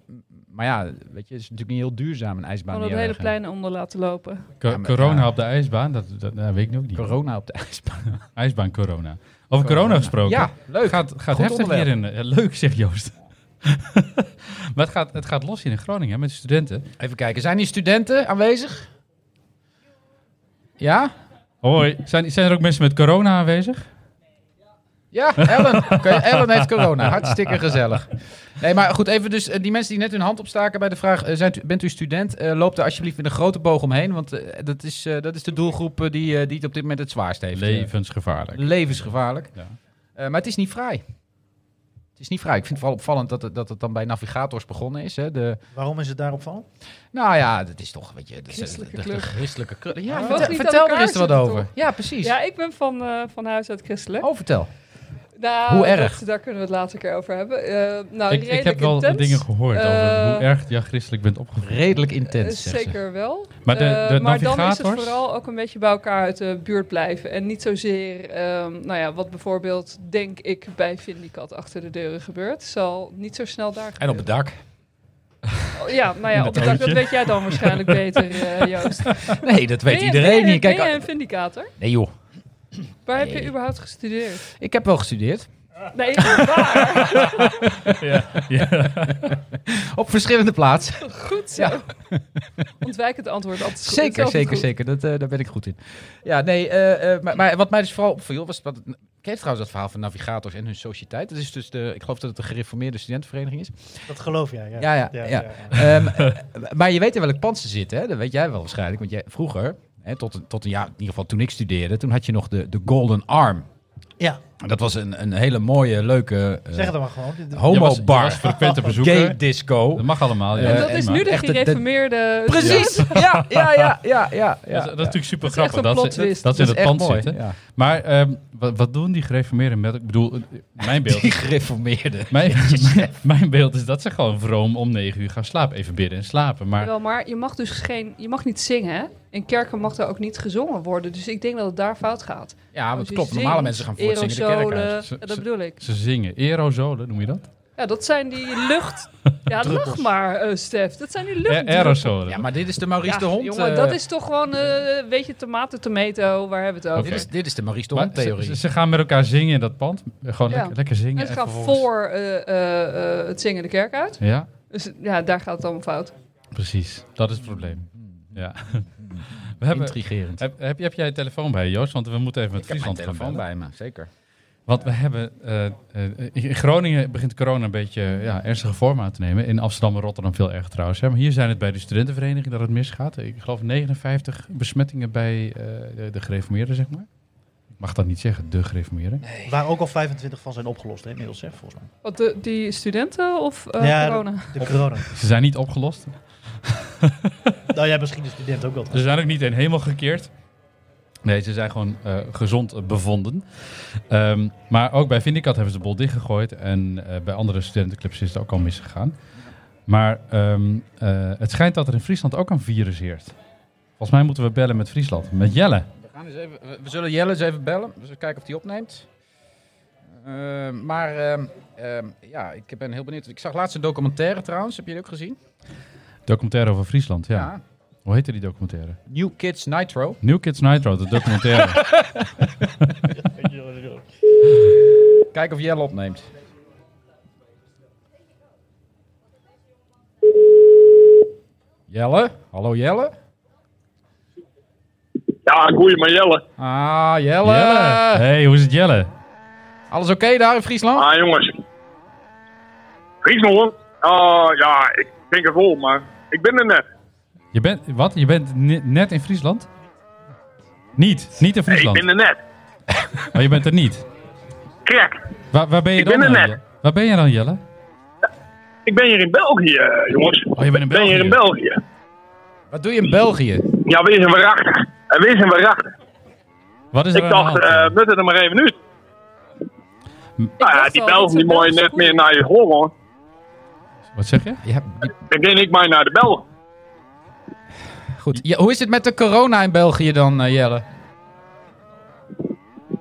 Maar ja, weet je, het is natuurlijk niet heel duurzaam een ijsbaan.
Gewoon dat hele
neerleggen.
plein onder laten lopen.
Co-
Ja, maar-
corona
ja.
op de ijsbaan, dat, dat nou, weet ik ook niet.
Corona op de ijsbaan.
ijsbaan corona. Over corona, gesproken.
Ja, leuk.
Gaat, gaat
Goed
heftig
onderwerp.
hier in. ja, leuk, zegt Joost. <laughs> maar het gaat, het gaat los hier in Groningen hè, met studenten.
Even kijken, zijn hier studenten aanwezig? Ja?
Hoi, zijn, zijn er ook mensen met corona aanwezig?
Ja,
<laughs>
Ellen. Oké, Ellen heeft corona. Hartstikke gezellig. Nee, maar goed, even dus eh, die mensen die net hun hand opstaken bij de vraag... eh, zijn, bent u student? Eh, loop er alsjeblieft met een grote boog omheen. Want eh, dat, is, eh, dat is de doelgroep eh, die, eh, die het op dit moment het zwaarst heeft. eh,
Levensgevaarlijk.
Levensgevaarlijk.
Ja.
Eh, maar het is niet vrij. Het is niet vrij. Ik vind het wel opvallend dat het, dat het dan bij navigators begonnen is. Hè? De,
waarom is het daarop van?
nou ja, dat is toch, weet je... De,
Christelijke
de, de,
club.
christelijke club.
Je
Ja,
mag
vertel,
niet aan
vertel er
elkaar
eens wat
zitten,
over. Ja, precies.
Ja, ik ben van, eh, van huis uit christelijk.
Oh, vertel.
Nou,
Hoe erg?
dat- daar kunnen we het later een keer over hebben. Eh, nou,
Ik, ik
redelijk
heb wel
intens.
dingen gehoord over
Eh,
hoe erg jij christelijk bent opgevoed.
Redelijk
Eh,
intens, zegt ze.
Zeker wel.
Maar de-
Eh,
de
maar dan is het
navigators?
vooral ook een beetje bij elkaar uit de buurt blijven. En niet zozeer, ehm, nou ja, wat bijvoorbeeld, denk ik, bij Vindicat achter de deuren gebeurt. Zal niet zo snel daar
En op het dak.
gebeuren. Ja, nou ja,
In
op het
het
dak, dat
autootje.
weet jij
<laughs>
dan waarschijnlijk beter, eh, Joost.
<laughs> Nee, dat weet
Ben je-
iedereen
ben je-
niet. Kijk,
ben
ah-
jij een Vindicator?
nee joh.
Waar heb
Nee.
je überhaupt gestudeerd?
Ik heb wel gestudeerd.
Nee, <laughs> waar?
<laughs> Op verschillende plaatsen.
Goed zo.
Ja.
Ontwijk het antwoord altijd goed. Het is
zeker,
altijd
zeker,
goed.
zeker. Dat, eh, daar ben ik goed in. Ja, nee, eh, eh, maar, maar wat mij dus vooral opviel was... Wat, ken je trouwens dat verhaal van navigators en hun sociëteit? Dat is dus de, ik geloof dat het de gereformeerde studentenvereniging is.
Dat geloof jij, ja.
Ja, ja, ja. Ehm, eh, maar je weet in welk pand ze zitten, hè? dat weet jij wel waarschijnlijk. Want jij, vroeger, hè, tot, een- tot een jaar, in ieder geval toen ik studeerde... toen had je nog de, de Golden Arm.
Ja,
En Dat was een, een hele mooie, leuke eh,
zeg het dan maar gewoon. Dit-
Je was,
homo
je was
bar, <laughs>
frequente
gay
bezoeker.
disco.
Dat mag allemaal. Ja.
En
En dat
Eh,
is
Maar-
nu de
echt de- de-
gereformeerde...
Precies, ja, ja, ja, ja, ja. ja.
dat, is- dat is natuurlijk super
is echt
grappig
een
dat,
plot
ze-
twist.
dat ze in het pand zitten.
Ja.
Maar ehm, wat, wat doen die gereformeerden met... Ik bedoel, eh, mijn
<laughs>
beeld
Die gereformeerde.
Mijn, mijn, <laughs> mijn beeld is dat ze gewoon vroom om negen uur gaan slapen. Even bidden en slapen. Maar
Jawel, maar je mag dus geen, je mag niet zingen. hè? In kerken mag er ook niet gezongen worden. Dus ik denk dat het daar fout gaat. Dus
Ja, want
je
klopt.
zingt,
Normale mensen gaan voor het zingen de kerk
aerosolen,
uit.
Z-
ja,
z-
dat bedoel ik.
ze zingen. Aerosolen, noem je dat?
Ja, dat zijn die
<laughs>
lucht. Ja, lach maar, eh, Stef. Dat zijn die
A-
lucht.
aerosolen.
Ja, maar dit Eh, is de Maurice
Ja,
de Hond.
jongen,
eh,
dat is toch gewoon, eh, weet je, tomaten, tomato, waar hebben we het over?
dit, is, dit is de Maurice de
Maar
Hond theorie.
Ze, ze gaan met elkaar zingen in dat pand. Gewoon
Ja.
lekker, lekker zingen.
Mensen
en
gaan
vervolgens-
voor eh, eh, eh, het zingen de kerk uit.
Ja,
Dus ja, daar gaat het allemaal fout.
precies. Dat is het probleem. Ja. <laughs> We hebben,
Intrigerend.
heb, heb, heb jij je telefoon bij je, Joost? Want we moeten even met Friesland gaan bellen.
bij me, zeker.
Want we hebben... eh, eh, in Groningen begint corona een beetje ja, ernstige vorm aan te nemen. In Amsterdam en Rotterdam veel erger trouwens. Hè. Maar hier zijn het bij de studentenvereniging dat het misgaat. Ik geloof 59 besmettingen bij eh, de, de gereformeerden, zeg maar. Ik mag dat niet zeggen, de gereformeerden.
Oh.
Waar ook al 25 van zijn opgelost, hè, inmiddels, hè, volgens mij.
Wat, de, die studenten of eh,
Ja,
corona?
De corona.
Ze zijn niet opgelost.
nou ja, misschien de student ook wel.
Ze zijn ook niet in hemel gekeerd. Nee, ze zijn gewoon eh, gezond eh, bevonden. Ehm, maar ook bij Vindicat hebben ze de bol dichtgegooid. En eh, bij andere studentenclubs is het ook al misgegaan. Maar ehm, eh, het schijnt dat er in Friesland ook een virus heerst. Volgens mij moeten we bellen met Friesland. Met Jelle.
We, gaan eens even, we- we zullen Jelle eens even bellen. We zullen kijken of hij opneemt. Eh, maar ehm, ehm, ja, ik ben heel benieuwd. Ik zag laatst een documentaire trouwens. Heb je die ook gezien?
Documentaire over Friesland, ja. Hoe heette die documentaire?
New Kids Nitro.
New Kids Nitro, de documentaire.
Kijk of Jelle opneemt. Jelle? Hallo Jelle?
Ja, goeie maar Jelle.
Ah, Jelle!
Jelle! Hey, hoe is het Jelle?
Alles oké daar in Friesland?
Ah, jongens. Friesland? Ah, ja, ik denk het wel, maar ik ben er net.
Je bent, wat? Je bent ni- net in Friesland? Niet, niet in
Ik
Friesland.
ben er net.
Maar je bent er niet.
Krek.
Waar, waar ben je
Ik
dan?
ben er
dan,
net.
Jelle? Waar ben je dan, Jelle?
Ik ben hier in België, eh, jongens.
Oh, je bent in
Ik ben hier
België.
in België.
Wat doe je in België?
Ja, wees een waarachtig. Eh, En wees in waarachter.
Wat is er
Ik
aan de
dacht,
hand?
eh nut het er maar even uit. Nou ja,
dacht
die
al, dat
Belgen die
zijn
mooi
Belgische
net meer
koeien.
naar je Holland.
Wat zeg je?
Ja,
Dan ging ik maar naar de Belgen.
goed. Ja, hoe is het met de corona in België dan, eh, Jelle?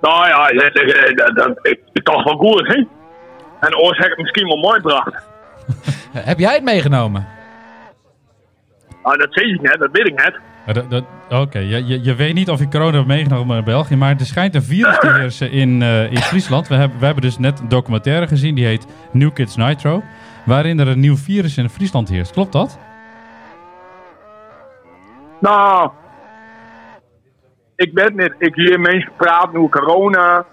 Nou ja, dat- dat- dat- dat is toch wel goed, hè? En Oors heeft het misschien wel mooi gebracht.
Eh, heb jij het meegenomen?
Nou, dat zie ik net, dat weet ik net.
Ja, dat- dat- Oké, je, je, je weet niet of je corona hebt meegenomen in België, maar er schijnt een virus te heersen in, eh, in Friesland. We hebben, we hebben dus net een documentaire gezien, die heet New Kids Nitro, waarin er een nieuw virus in Friesland heerst. Klopt dat?
Nou, ik weet niet. Ik hier mensen praten over corona,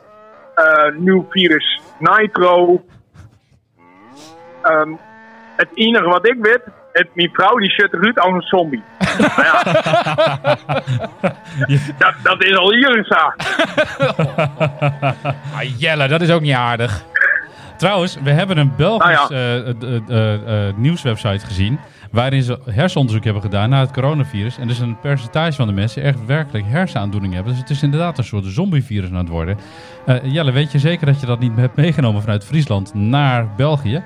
eh, nieuw virus nitro. Ehm, het enige wat ik weet, het, mijn vrouw die shut eruit als een zombie. Nou ja. dat, dat is al hier een zaak.
Ah, Jelle, dat is ook niet aardig. Trouwens, we hebben een Belgisch
Ah,
eh, eh, eh, eh, nieuwswebsite gezien, waarin ze hersenonderzoek hebben gedaan naar het coronavirus. En dus een percentage van de mensen echt werkelijk hersenaandoening hebben. Dus het is inderdaad een soort zombievirus aan het worden. Eh, Jelle, weet je zeker dat je dat niet hebt meegenomen vanuit Friesland naar België?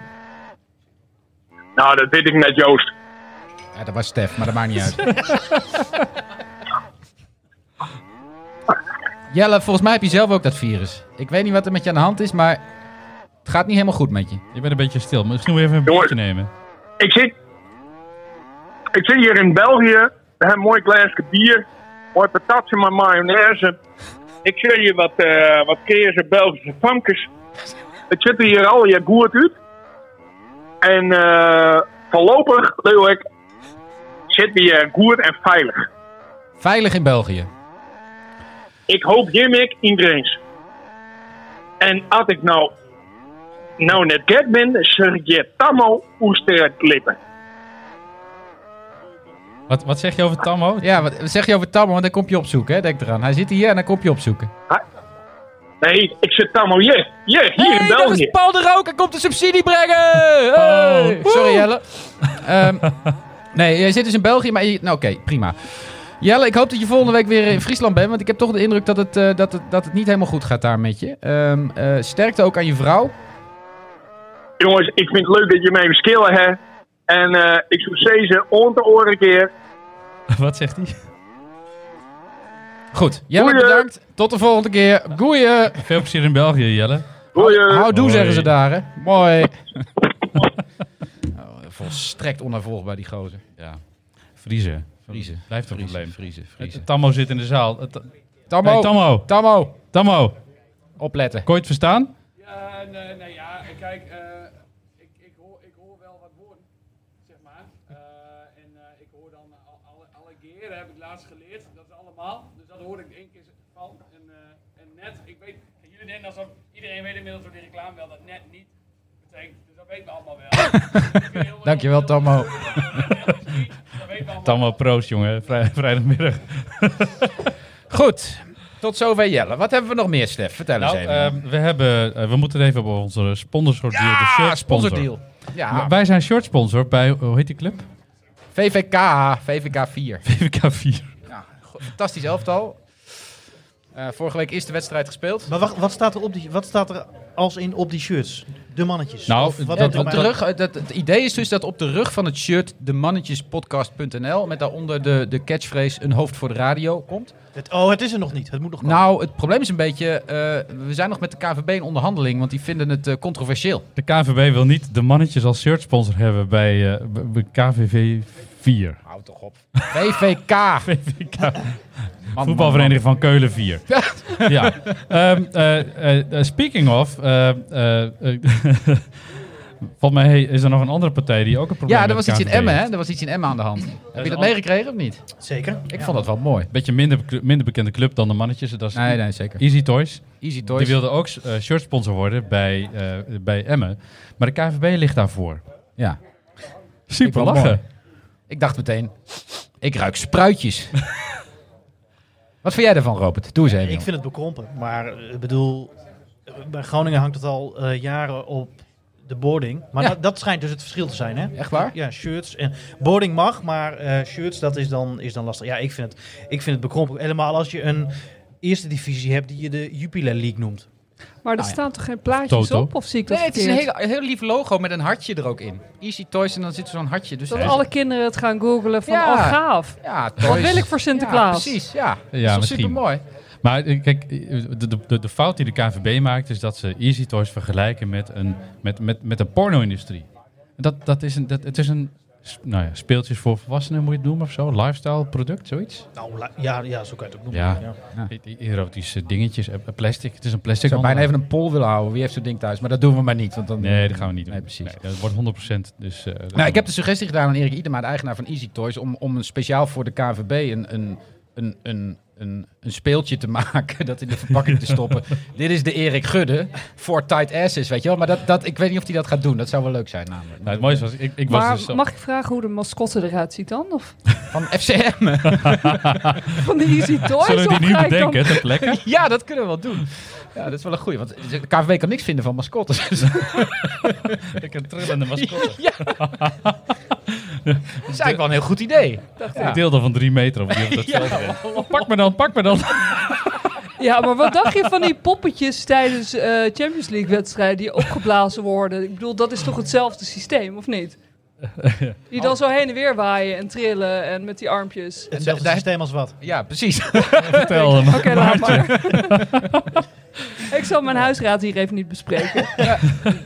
Nou, dat weet ik net, Joost.
Ja, dat was Stef, maar dat maakt niet
<laughs>
uit. Jelle, volgens mij heb je zelf ook dat virus. Ik weet niet wat er met je aan de hand is, maar het gaat niet helemaal goed met je.
Je bent een beetje stil, maar misschien moet je even een
Jongens.
biertje nemen.
Ik zit, ik zit hier in België. We hebben een mooi glaasje bier. Mooi patatje met mayonaise. Ik zie hier wat, eh wat Keerse Belgische famkes. Het zit hier al je goed uit. En eh, voorlopig, leeuw ik, zit hier goed en veilig.
Veilig in België.
Ik hoop hiermee iedereen. En als ik nou, nou net gek ben, zeg ik je tammo oester klippen.
Wat, wat zeg je over Tammo?
<laughs> Ja, wat wat zeg je over Tammo? Want dan kom je opzoeken, hè? denk eraan. Hij zit hier en dan kom je opzoeken.
Nee, ik zit tammo hier. Hier, hier in
dat is
België.
Paul de Rook. Hij komt de subsidie brengen. Hey.
Oh.
Sorry, Jelle. Ehm, nee, jij zit dus in België, maar... je- Nou, oké, prima. Jelle, ik hoop dat je volgende week weer in Friesland bent. Want ik heb toch de indruk dat het, eh, dat het, dat het niet helemaal goed gaat daar met je. Ehm, eh, sterkte ook aan je vrouw.
Jongens, ik vind het leuk dat je mij skillen hebt. En eh, ik zou zeggen, om te oren een keer.
Wat zegt hij?
Goed, Jelle,
Goeie. Eh,
bedankt. Tot de volgende keer. Goeie.
Veel plezier in België, Jelle.
Doei. eh.
Houdoe
Hoi.
zeggen ze daar, hè. Mooi.
<laughs>
Nou, volstrekt onafvolgbaar, die gozer.
Ja. Vriezen.
Vriezen.
Blijft een
Vriezen,
probleem.
vriezen, vriezen.
Het- Tammo zit in de zaal. Het-
Tammo,
Hey, Tammo.
Tammo,
Tammo,
opletten.
kon je het verstaan?
Ja, nee, nee, ja, kijk, eh, ik, ik, hoor, ik hoor wel wat woorden, zeg maar. Eh, en eh, ik hoor dan al- alle, alle geren, heb ik laatst geleerd, dat is allemaal. Dus dat hoor ik één keer van. En, eh, en net, ik weet,
<laughs>
jullie denken alsof iedereen weet inmiddels door die reclame wel dat net niet betekent. Dus dat weten we allemaal wel. Ik ben heel-
Dankjewel,
heel-
Tammo.
Dat weten we allemaal
Tammo, proost jongen. Vrij, vrijdagmiddag.
<laughs> Goed, tot zover Jelle. Wat hebben we nog meer, Stef? Vertel
<laughs> Nou,
eens even.
ehm, we, hebben, eh, we moeten het even op onze sponsor deal. de
ah,
shirt sponsor.
sponsordeal. Ja,
W- Wij zijn shirt sponsor bij, hoe heet die <laughs> club?
VVK, VVK 4.
PVK 4.
Ja, go- fantastisch elftal. Eh, vorige week is de wedstrijd gespeeld.
Maar wacht, wat staat er, op die, wat staat er als in op die shirts? De mannetjes?
Nou,
Of wat
dat-
ook
Eh, op de
maar-
rug, eh, dat, het idee is dus dat op de rug van het shirt de mannetjespodcast.nl met daaronder de, de catchphrase een hoofd voor de radio komt.
Het- oh, het is er nog niet. Het moet nog komen.
Nou, het probleem is een beetje, eh, we zijn nog met de KVB in onderhandeling, want die vinden het eh, controversieel.
De KVB wil niet de mannetjes als shirt sponsor hebben bij eh, b- b- KVV 4. <laughs>
Houd toch op. VVK.
PVK
Ah. Man,
Voetbalvereniging van Keulen 4.
man,
ja. Ehm, eh, eh, eh, speaking of. eh, eh, eh, <laughs> Volgens mij hey, is er nog een andere partij die ook een
man.
probleem
Ja, er
met
was iets in
KNVB
Emmen,
heeft.
hè? Er was iets in Emmen aan de hand. Heb je
een
dat
ander-
meegekregen of niet?
Zeker.
Nou, Ik vond dat wel mooi.
Beetje minder, minder bekende club dan de mannetjes. Dat is
Nee, nee, zeker.
Easy Toys.
Easy
Die
Toys.
wilde ook eh shirt sponsor worden bij, eh, bij Emmen. Maar de KVB ligt daarvoor.
Ja.
Super
vond het
lachen.
Ik dacht meteen, ik ruik spruitjes. <laughs> Wat vind jij daarvan, Robert? Doe eens even.
Ik
jongen.
vind het bekrompen. Maar eh, ik bedoel, eh, bij Groningen hangt het al eh, jaren op de boarding. Maar
Ja.
dat, dat schijnt dus het verschil te zijn, hè?
Echt waar?
Ja, shirts. En boarding mag, maar eh, shirts, dat is dan, is dan lastig. Ja, ik vind het, ik vind het bekrompen. Helemaal als je een eerste divisie hebt die je de Jupiler League noemt.
Maar er
Nou ja.
staan toch geen plaatjes
Toto.
op? Of zie ik dat
Nee, het is een
verkeerd?
heel, heel lief logo met een hartje er ook in. Easy Toys en dan zit er zo'n hartje. Dus
Dat
het is-
alle kinderen het gaan googelen van,
Ja.
oh gaaf.
ja,
Wat
toys.
wil ik voor Sinterklaas?
Ja, precies, ja.
Ja,
Ja,
misschien.
super mooi.
Maar eh, kijk, eh, de, de- de, de fout die de KVB maakt is dat ze Easy Toys vergelijken met, een, met, met, met de porno-industrie. Dat, dat is een, dat, het is een s- nou ja, speeltjes voor volwassenen moet je het noemen of zo. Lifestyle product, zoiets.
Nou, la- ja, ja, zo kan je het ook noemen.
Ja.
ja.
E- e- Erotische dingetjes, eh, plastic. Het is een plastic.
Ik zou bijna
handel.
even een poll willen houden. Wie heeft zo'n ding thuis? Maar dat doen we maar niet. Want dan...
Nee, dat gaan we niet doen.
Nee, precies.
Nee, dat wordt 100% dus... eh, dat
Nou, ik heb
doen
de suggestie gedaan aan Erik Idema, de eigenaar van Easy Toys, om, om een speciaal voor de KVB een, een, een, een, een, een speeltje te <laughs> maken, dat in de verpakking te
<laughs>
stoppen. Dit is de Erik Gudde voor tight asses, weet je wel. Maar dat, dat, ik weet niet of hij dat gaat doen. Dat zou wel leuk zijn namelijk.
we. Nou, het mooiste was, ik, ik
Maar
was dus...
mag ik vragen hoe de mascotte eruit ziet dan? Of
Van
<laughs>
FCM.
van de Easy Toys?
Zullen we
Of
die nu
ga ik dan-
bedenken, ter plekke? <laughs>
Ja, dat kunnen we wel doen. Ja, dat is wel een goeie. Want de KVB kan niks vinden van mascottes. <laughs>
Ik een trillende mascotte.
ja. Dat is eigenlijk wel een heel goed idee.
Ik deelde van drie meter op die op dat eh. veld rent. <laughs> Pak me dan, pak me dan.
Ja, maar wat dacht je van die poppetjes tijdens eh, Champions League wedstrijden die opgeblazen worden? Ik bedoel, dat is toch hetzelfde systeem, of
<laughs>
niet? Die dan zo heen en weer waaien en trillen en met die armpjes.
Hetzelfde
daar-
systeem als wat.
Ja,
<laughs>
precies.
Vertel hem. <laughs>
Oké, laat maar. Ik zal mijn huisraad hier even niet bespreken.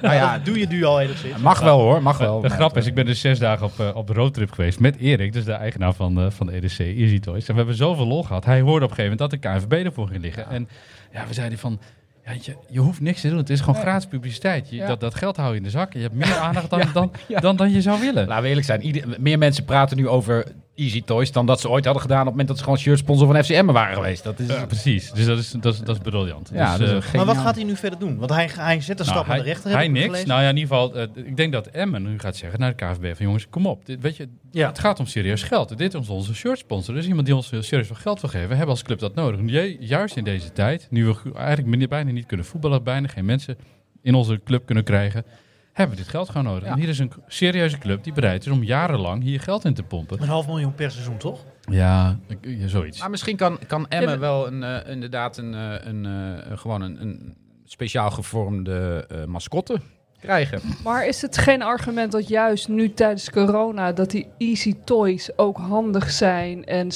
Nou ja,
Dat doe je nu al enigszins.
mag wel hoor, mag wel. Nou,
De grap is, ik ben dus zes dagen op, eh, op de roadtrip geweest met Erik, dus de eigenaar van, eh, van de EDC Easy Toys. En we hebben zoveel lol gehad. Hij hoorde op een gegeven moment dat de KNVB ervoor ging liggen. En ja, we zeiden van, ja, je, je hoeft niks te doen. Het is gewoon gratis publiciteit. Je,
Ja.
dat, dat geld hou je in de zak. Je hebt
<laughs>
meer aandacht dan,
Ja,
dan,
ja.
dan, dan je zou willen.
Laten we eerlijk zijn. Ieder, meer mensen praten nu over Easy Toys dan dat ze ooit hadden gedaan op het moment dat ze gewoon shirtsponsor van FCM waren geweest. Dat is,
Ja,
ja,
precies. Dus dat is, dat is, dat is briljant. dus,
dat is een
eh,
Maar wat
geniaal-
gaat hij nu verder doen? Want hij, hij zet een
Nou,
stap naar de rechter. heb
Hij
ik
niks.
gelezen.
Nou ja, in ieder geval, eh, ik denk dat Emmen nu gaat zeggen naar de KVB van jongens, kom op. Dit, weet je,
Ja.
Het gaat om serieus geld. Dit is onze shirtsponsor. Dus iemand die ons serieus veel geld wil geven, hebben als club dat nodig. Ju- Juist in deze tijd, nu we go- eigenlijk min- bijna niet kunnen voetballen, bijna geen mensen in onze club kunnen krijgen, hebben we dit geld gewoon nodig.
Ja.
En hier is een k- serieuze club die bereid is om jarenlang hier geld in te pompen.
Een half miljoen per seizoen, toch?
Ja, ik- eh, ja, zoiets.
Maar misschien kan, kan Emma
Ja,
wel een, eh, inderdaad een, eh, een, eh, gewoon een, een speciaal gevormde eh, mascotte krijgen.
Maar is het geen argument dat juist nu tijdens corona dat die easy toys ook handig zijn en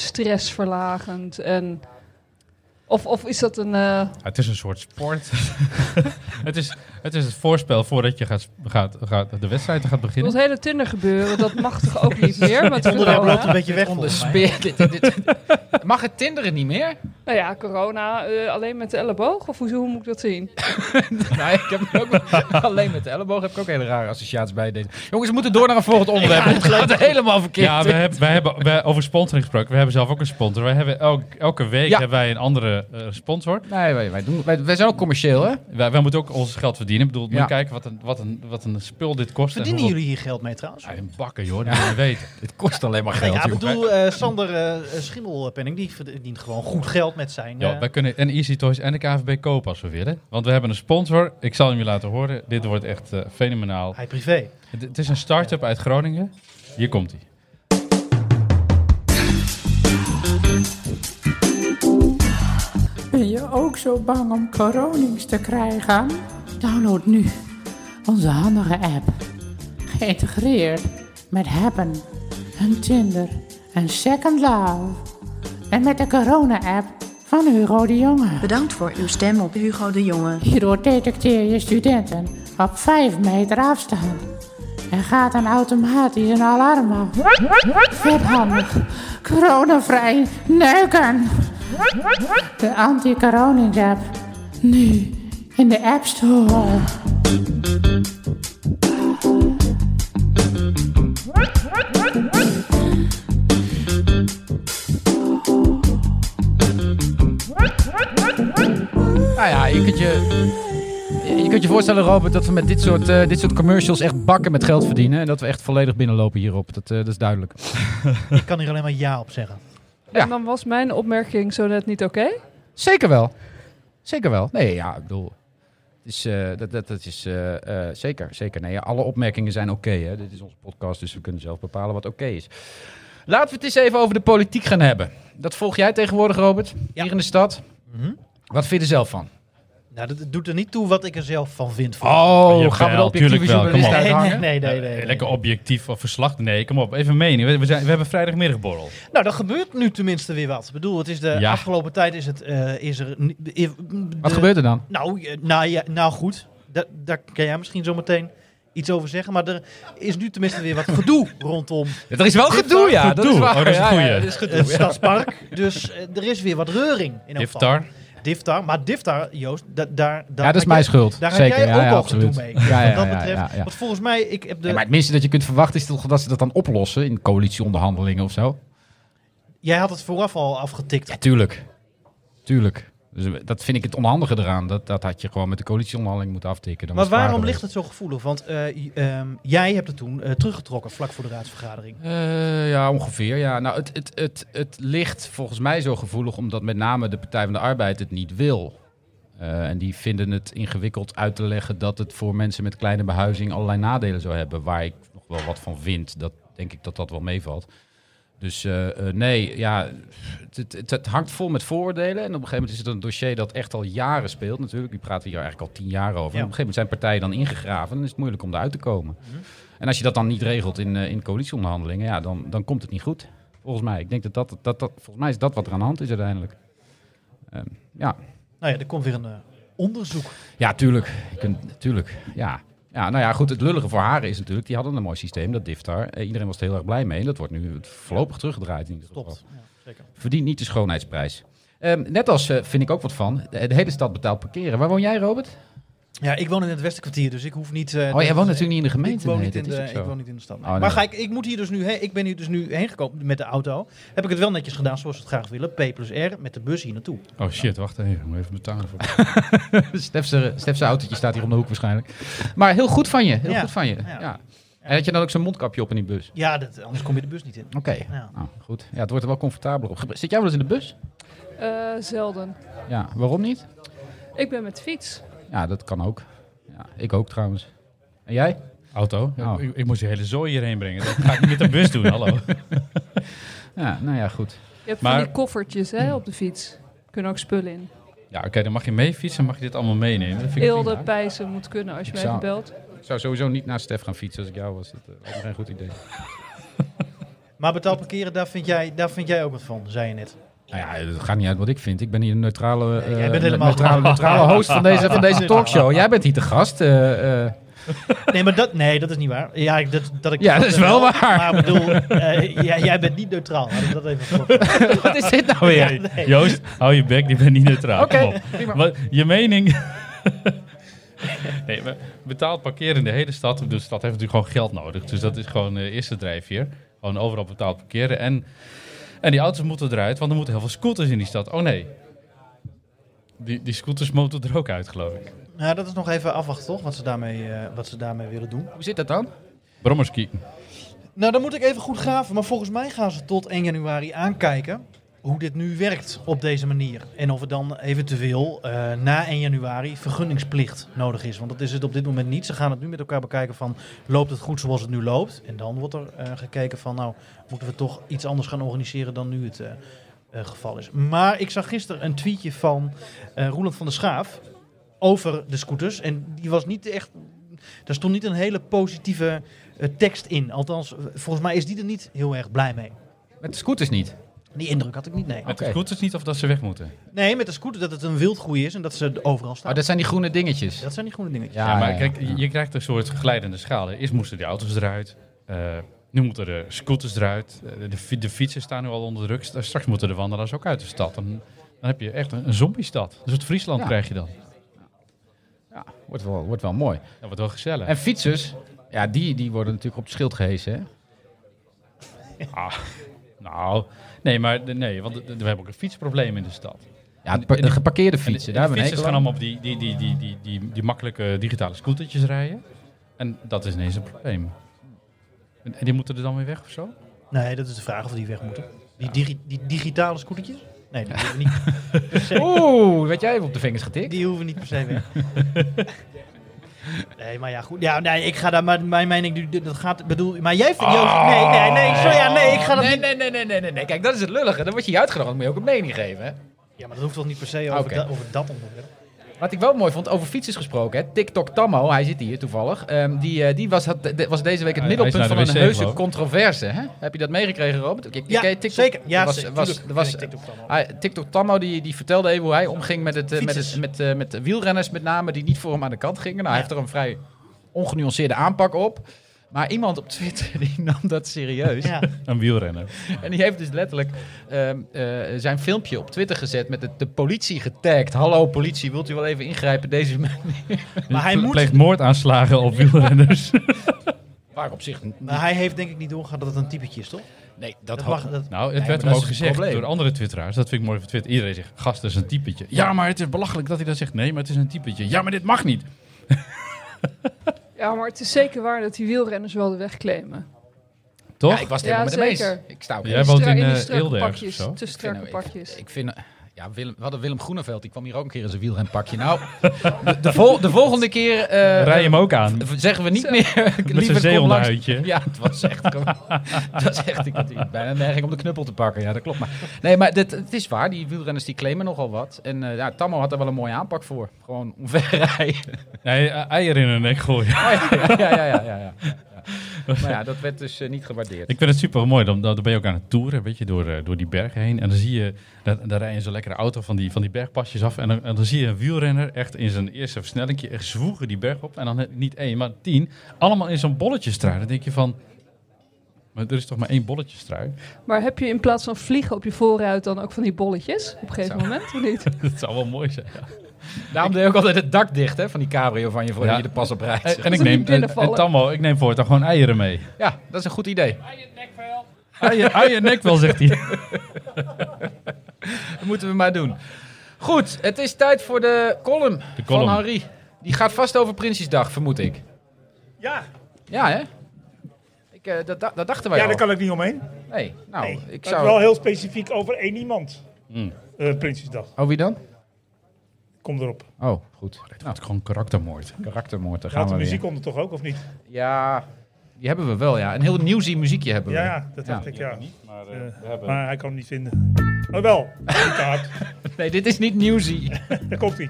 stressverlagend en... Of, of is dat een... eh,
Ja, het is een soort sport. <laughs> het, is, het is het voorspel voordat je gaat, sp- gaat, gaat, de wedstrijd gaat beginnen.
Dat hele Tinder gebeuren, dat mag toch ook niet meer met
Onderwerp loopt een
Nou,
corona?
beetje weg.
Onder
volgens mij.
speer- dit- dit- dit- Mag het tinderen niet meer?
Nou ja, corona eh, alleen met de elleboog? Of hoe, hoe moet ik dat zien?
<laughs> Nee, ik heb er ook, <laughs> alleen met de elleboog heb ik ook hele rare associaties bij deze. Jongens, we moeten door naar een volgend onderwerp. Het gaat helemaal verkeerd.
Ja, we hebben, wij hebben wij, over sponsoring gesproken. We hebben zelf ook een sponsor. Wij hebben elk, elke week
Ja.
hebben wij een andere eh, sponsor.
Nee, wij, wij, doen, wij, wij zijn ook commercieel, hè?
Wij, wij moeten ook ons geld verdienen. Ik bedoel, moet
Ja.
je kijken wat een, wat, een, wat een spul dit kost. en
Verdienen
hoeveel-
jullie hier geld mee trouwens?
Ja, in bakken, joh. Dat moet je weten.
Het kost alleen maar
Nou
geld,
ja, ik
joh.
bedoel, eh, Sander eh Schimmelpenning, die verdient gewoon goed geld met zijn...
Ja,
eh,
wij kunnen en Easy Toys en de KVB kopen als we willen. Want we hebben een sponsor. Ik zal hem je laten horen. Dit wordt echt eh, fenomenaal.
hij privé.
Het, het is een start-up uit Groningen. Hier komt hij.
Ben je ook zo bang om coronings te krijgen? Download nu onze handige app. Geïntegreerd met Happen en Tinder en Second Love. En met de corona-app van Hugo de Jonge.
Bedankt voor uw stem op Hugo de Jonge.
Hierdoor detecteer je studenten op 5 meter afstand. En gaat dan automatisch een alarm af. Vet handig. Coronavrij neuken. De anti-coronings app. Nu in de App Store.
Nou ja, je kunt je... Je kunt je voorstellen, Robert, dat we met dit soort, eh, dit soort commercials echt bakken met geld verdienen. En dat we echt volledig binnenlopen hierop. Dat, eh, dat is duidelijk.
Ik kan hier alleen maar ja op zeggen.
Ja.
En dan was mijn opmerking zo net niet oké.
Zeker wel. Zeker wel. Nee, ja, ik bedoel... is, eh, dat, dat, dat is eh, eh, zeker, zeker. Nee, alle opmerkingen zijn oké. hè. Dit is onze podcast, dus we kunnen zelf bepalen wat oké is. Laten we het eens even over de politiek gaan hebben. Dat volg jij tegenwoordig, Robert, hier in de stad.
Mhm.
Wat vind je er zelf van?
Nou, dat doet er niet toe wat ik er zelf van vind.
Oh,
Jawel,
gaan we de objectieve
tuurlijk wel, kom
journalist
nee,
op.
nee,
uithangen?
nee, nee, nee, nee.
Lekker objectief of verslag. Nee, kom op. Even mening. We, we zijn, we hebben vrijdagmiddagborrel.
Nou, dat gebeurt nu tenminste weer wat. Ik bedoel, het is de
Ja.
afgelopen tijd is het... eh, is er, ni- i- de-
Wat gebeurt er dan?
Nou, je- nou, ja, nou goed, Da- daar kan jij misschien zo meteen iets over zeggen. Maar er is nu tenminste weer wat gedoe rondom
Er is wel gedoe, ja. Dat is
Gedoe.
waar.
Oh, dat is een
Ja, ja,
goeie.
dat is <laughs> gedoe,
het
ja.
Stadspark. Dus eh, er is weer wat reuring. In elk geval.
Iftar.
Diftar. Maar Diftar, Joost, da- daar... daar
Ja, dat is
had
mijn
jij-
schuld.
Daar
Zeker.
heb jij
ja,
ook
ja,
al
absoluut.
gedoe mee.
Ja, ja,
wat dat
ja, ja,
betreft.
ja.
Want volgens mij, ik heb de...
Nee, maar het minste dat je kunt verwachten is toch dat ze dat dan oplossen in coalitieonderhandelingen of zo?
Jij had het vooraf al afgetikt.
Ja, tuurlijk. Tuurlijk. Dus eh, dat vind ik het onhandige eraan. Dat, dat had je gewoon met de coalitieonderhandeling moeten aftikken. Dan
Maar
was het
waarom
waar
ligt het zo gevoelig? Want eh, j- ehm, jij hebt het toen eh, teruggetrokken vlak voor de raadsvergadering.
Eh, ja, ongeveer. Ja. Nou, het, het, het, het ligt volgens mij zo gevoelig omdat met name de Partij van de Arbeid het niet wil. Eh, en die vinden het ingewikkeld uit te leggen dat het voor mensen met kleine behuizing allerlei nadelen zou hebben. Waar ik nog wel wat van vind. Dat denk ik dat dat wel meevalt. Dus eh, eh, nee, ja, het, het, het- het hangt vol met vooroordelen. En op een gegeven moment is het een dossier dat echt al jaren speelt natuurlijk. Die praten hier eigenlijk al tien jaar over. En op een gegeven moment zijn partijen dan ingegraven. En dan is het moeilijk om eruit te komen. En als je dat dan niet regelt in, eh, in coalitieonderhandelingen, ja, dan, dan komt het niet goed. Volgens mij. Ik denk dat dat, dat, dat volgens mij is dat wat er aan de hand is uiteindelijk. Ehm, ja.
Nou ja, er komt weer een eh, onderzoek.
ja, tuurlijk. Je kunt, tuurlijk. Ja. ja, nou ja, goed. Het lullige voor haar is natuurlijk, die hadden een mooi systeem, dat Diftar. Eh, iedereen was er heel erg blij mee. En dat wordt nu voorlopig teruggedraaid. In ieder geval.
Klopt. Ja, zeker.
Verdient niet de schoonheidsprijs. Ehm, net als, eh, vind ik ook wat van, de, de hele stad betaalt parkeren. Waar woon jij, Robert?
Ja, ik woon in het Westenkwartier, dus ik hoef niet... eh,
Oh, jij
dat-
woont natuurlijk niet in de gemeente.
Ik woon,
nee,
niet in
dat is
de,
ook zo.
ik woon niet in de stad. nee.
Oh, nee.
Maar ga ik, ik, moet hier dus nu heen, ik ben hier dus nu heen gekomen met de auto. Heb ik het wel netjes gedaan zoals we het graag willen. P plus R met de bus hier naartoe.
Oh shit, wacht even. Ik moet even betalen voor
Stefse, Stefse autootje staat hier om de hoek waarschijnlijk. Maar heel goed van je, heel
Ja,
goed van je. Ja.
ja.
En had je dan ook zo'n mondkapje op in die bus?
Ja, dat, anders kom je de bus niet in.
Oké,
Ja.
nou, goed. Ja, het wordt er wel comfortabeler op. Gebru- Zit jij wel eens in de bus?
Eh, zelden.
Ja, waarom niet?
Ik ben met fiets.
Ja, dat kan ook. Ja, ik ook trouwens. En jij?
auto. Ja,
Oh.
Ik, ik moest die hele zooi hierheen brengen. Dat ga ik niet met de bus doen, hallo. <laughs>
Ja, nou ja, goed.
Je hebt
Maar-
van die koffertjes hè, op de fiets. Kunnen ook spullen in.
Ja, oké, dan mag je mee fietsen, mag je dit allemaal meenemen. Dat vind ik
Eelde,
prima.
pijzen moet kunnen als
Ik
je mij
zou-
even belt.
Ik zou sowieso niet naar Stef gaan fietsen als ik jou was. Dat eh, lijkt me geen goed idee.
Maar betaald parkeren, daar vind, jij, daar vind jij ook wat van, zei je net.
Nou ja, het gaat niet uit wat ik vind. Ik ben hier een neutrale, eh,
jij bent helemaal
neutrale,
gewoon-
neutrale host van deze, van deze talkshow. Jij bent hier de gast. eh, eh.
Nee, maar dat, nee, dat is niet waar. Ja, ik- dat, dat, ik
Ja, dat is wel waar.
Maar ik bedoel, eh, jij, jij bent niet neutraal. Laat ik dat
<laughs>
even voor-
wat is dit nou weer?
Hey, Oh Joost, hou je bek, die bent niet neutraal.
Oké,
Kom op. Wat, je mening. <laughs> nee, maar betaald parkeren in de hele stad. De stad heeft natuurlijk gewoon geld nodig. Dus dat is gewoon eh eerste drijfveer. Gewoon overal betaald parkeren. En, en die auto's moeten eruit, want er moeten heel veel scooters in die stad. Oh nee. Die, die scooters moeten er ook uit, geloof ik.
Nou, dat is nog even afwachten, toch? Wat ze daarmee, eh, wat ze daarmee willen doen.
Hoe zit dat dan?
Brommerski.
Nou, dan moet ik even goed graven. Maar volgens mij gaan ze tot 1 januari aankijken hoe dit nu werkt op deze manier. En of er dan eventueel eh, na 1 januari vergunningsplicht nodig is. Want dat is het op dit moment niet. Ze gaan het nu met elkaar bekijken van loopt het goed zoals het nu loopt. En dan wordt er eh, gekeken van nou moeten we toch iets anders gaan organiseren dan nu het eh, eh, geval is. Maar ik zag gisteren een tweetje van eh Roeland van der Schaaf over de scooters. En die was niet echt... Daar stond niet een hele positieve eh, tekst in. Althans, eh, volgens mij is die er niet heel erg blij mee.
Met de scooters niet.
Die indruk had ik niet, nee.
Met de
Oké.
scooters niet of dat ze weg moeten.
Nee, met de scooter dat het een wildgroei is en dat ze er overal staan.
Oh, dat zijn die groene dingetjes.
Dat zijn die groene dingetjes.
Ja, maar kijk,
ja.
je- je krijgt een soort glijdende schaal. hè. Eerst moesten die auto's eruit. eh, nu moeten de scooters eruit. eh, de, fi- de fietsen staan nu al onder druk. St- Straks moeten de wandelaars ook uit de stad. Dan, dan heb je echt een, een zombie-stad. Een soort Friesland
Ja.
krijg je dan.
Ja, wordt wel, wordt wel mooi.
Dat wordt wel gezellig.
En fietsers, ja, die, die worden natuurlijk op het schild gehesen. Hè?
Ah, nou, nee, maar de- nee, want de- de- we hebben ook een fietsprobleem in de stad.
Ja, de, par- de geparkeerde fietsen,
en
daar
de
ben ik
fietsers gaan allemaal op die, die, die, die, die, die, die makkelijke digitale scootertjes rijden. En dat is ineens een probleem. En en die moeten er dan weer weg of zo?
Nee, dat is de vraag of die weg moeten. Die, digi- die digitale scootertjes? Nee, die hoeven niet,
Oeh, werd jij even op de vingers getikt?
die hoeven niet per
<laughs>
se weg. Nee, maar ja, goed. Ja, nee, ik ga daar, maar mijn mening, die- dat gaat, bedoel, maar jij vindt, Joost,
Oh.
nee, nee, nee, sorry, ja, nee, ik ga dat
nee,
niet.
nee, nee, nee, nee, nee, nee. Kijk, dat is het lullige. Dan word je hier uitgenodigd. Dan moet je ook een mening geven. Hè?
Ja, maar dat hoeft toch niet per se over,
Oké.
dat- over dat onderwerp.
Wat ik wel mooi vond, over fietsers gesproken. Hè? TikTok Tammo, hij zit hier toevallig. ehm, die eh, die was, had, de- was deze week het
Hij- hij is
middelpunt van
naar de
een
wc
heuse
geloof ik.
controverse. Hè? Heb je dat meegekregen, Robert? Ik- ik-
Ja,
ken je TikTok?
zeker. Ja,
Er was,
zeker.
was,
Tuurlijk
er was,
ken ik TikTok Tammo.
eh, ah, TikTok Tammo die, die vertelde even hoe hij omging met, het, eh, met,
Fietsers.
het, met, eh, met de wielrenners met name. Die niet voor hem aan de kant gingen. Nou, hij heeft er een vrij ongenuanceerde aanpak op. Maar iemand op Twitter <laughs> die nam dat serieus.
Ja,
Een wielrenner.
En die heeft dus letterlijk ehm, eh, zijn filmpje op Twitter gezet met de, de politie getagd. Hallo politie, wilt u wel even ingrijpen? Deze man.
maar hij
Ple-
moet,
pleegt moordaanslagen op wielrenners.
<laughs> Waar op zich. n-
maar hij heeft denk ik niet doorgehad dat het een typetje is, toch?
Nee, dat,
Dat
had-
mag, dat,
<laughs> nou, het
maar dat
werd hem
is
ook
het
gezegd
probleem.
door andere twitteraars. Dat vind ik mooi van Twitter. Iedereen zegt, gast dat is een typetje. Ja, maar het is belachelijk dat hij dat zegt. Nee, maar het is een typetje. Ja, maar dit mag niet.
Ja, maar het is zeker waar dat die wielrenners wel de weg claimen.
Toch?
Ja, ik was het helemaal
Ja,
met hem
zeker.
eens. Ik sta ook
Jij
ik
Die
woont
stra-
in,
die
eh,
strakke
Eelde ergens
pakjes,
of zo?
Te
vind-
strakke
Ik,
pakjes.
ik vind. Ja, Willem, we hadden Willem Groeneveld. Die kwam hier ook een keer in zijn wielrenpakje. Nou, de, de, vol- de volgende keer. eh,
Rij hem ook aan.
v- Zeggen we niet
Zo.
<laughs> meer.
Met zijn
Lieverd, kom langs.
zeehondenuitje.
Ja, het was echt.
<laughs>
dat is echt. Ik had hier bijna een neiging om de knuppel te pakken. Ja, dat klopt. Maar, nee, maar dit, het is waar. Die wielrenners die claimen nogal wat. En eh, ja, Tammo had er wel een mooie aanpak voor. Gewoon omverrijden.
Nee, eh, eieren in hun nek gooien.
Oh, ja, <laughs> ja, ja, ja, ja, ja, ja. Maar ja, dat werd dus eh, niet gewaardeerd.
Ik vind het super mooi. Dan, dan ben je ook aan het toeren, weet je, door, eh, door die bergen heen. En dan zie je, daar, daar rijden zo'n lekkere auto van die, van die bergpasjes af. En dan, en dan zie je een wielrenner echt in zijn eerste versnelling echt zwoegen die berg op. En dan niet één, maar tien. Allemaal in zo'n bolletjestrui. Dan denk je van, maar er is toch maar één bolletjestrui? <laughs>
Maar heb je in plaats van vliegen op je voorruit dan ook van die bolletjes? Op een gegeven moment of niet?
Dat zou wel mooi zijn.
Daarom deed je ook altijd het dak dicht hè, van die cabrio van je voor
Ja. Eh,
je de pas op rijdt.
En, en ik
Als ze
neem,
niet
en,
binnenvallen.
en Tammo, ik neem voortaan gewoon eieren mee.
Ja, dat is een goed idee.
Eieren, eieren nek wel, zegt hij.
<laughs>
Dat moeten we maar doen. Goed, het is tijd voor de column,
column.
van Henri. Die gaat vast over Prinsjesdag, vermoed ik.
Ja,
Ja, hè? Ik, eh, dat, da- dat dachten wij
ja
al.
daar kan ik niet omheen.
Nee, nou,
Nee,
ik
dat is wel
zou... Hmm.
heel specifiek over één iemand. Eh, Prinsjesdag.
Oh, wie dan?
Kom erop.
Oh, goed. Nou,
Het is gewoon karaktermoord.
karaktermoord, daar gaan
Gaat de
we
muziek
weer.
onder toch ook, of niet?
Ja, die hebben we wel, ja. Een heel nieuwsy muziekje hebben we.
Ja, ja dat
Ja.
dacht ik, ja. Eh, maar hij kan hem niet vinden. Oh, wel. <laughs> Die kaart.
Nee, dit is niet newsy.
Daar komt hij.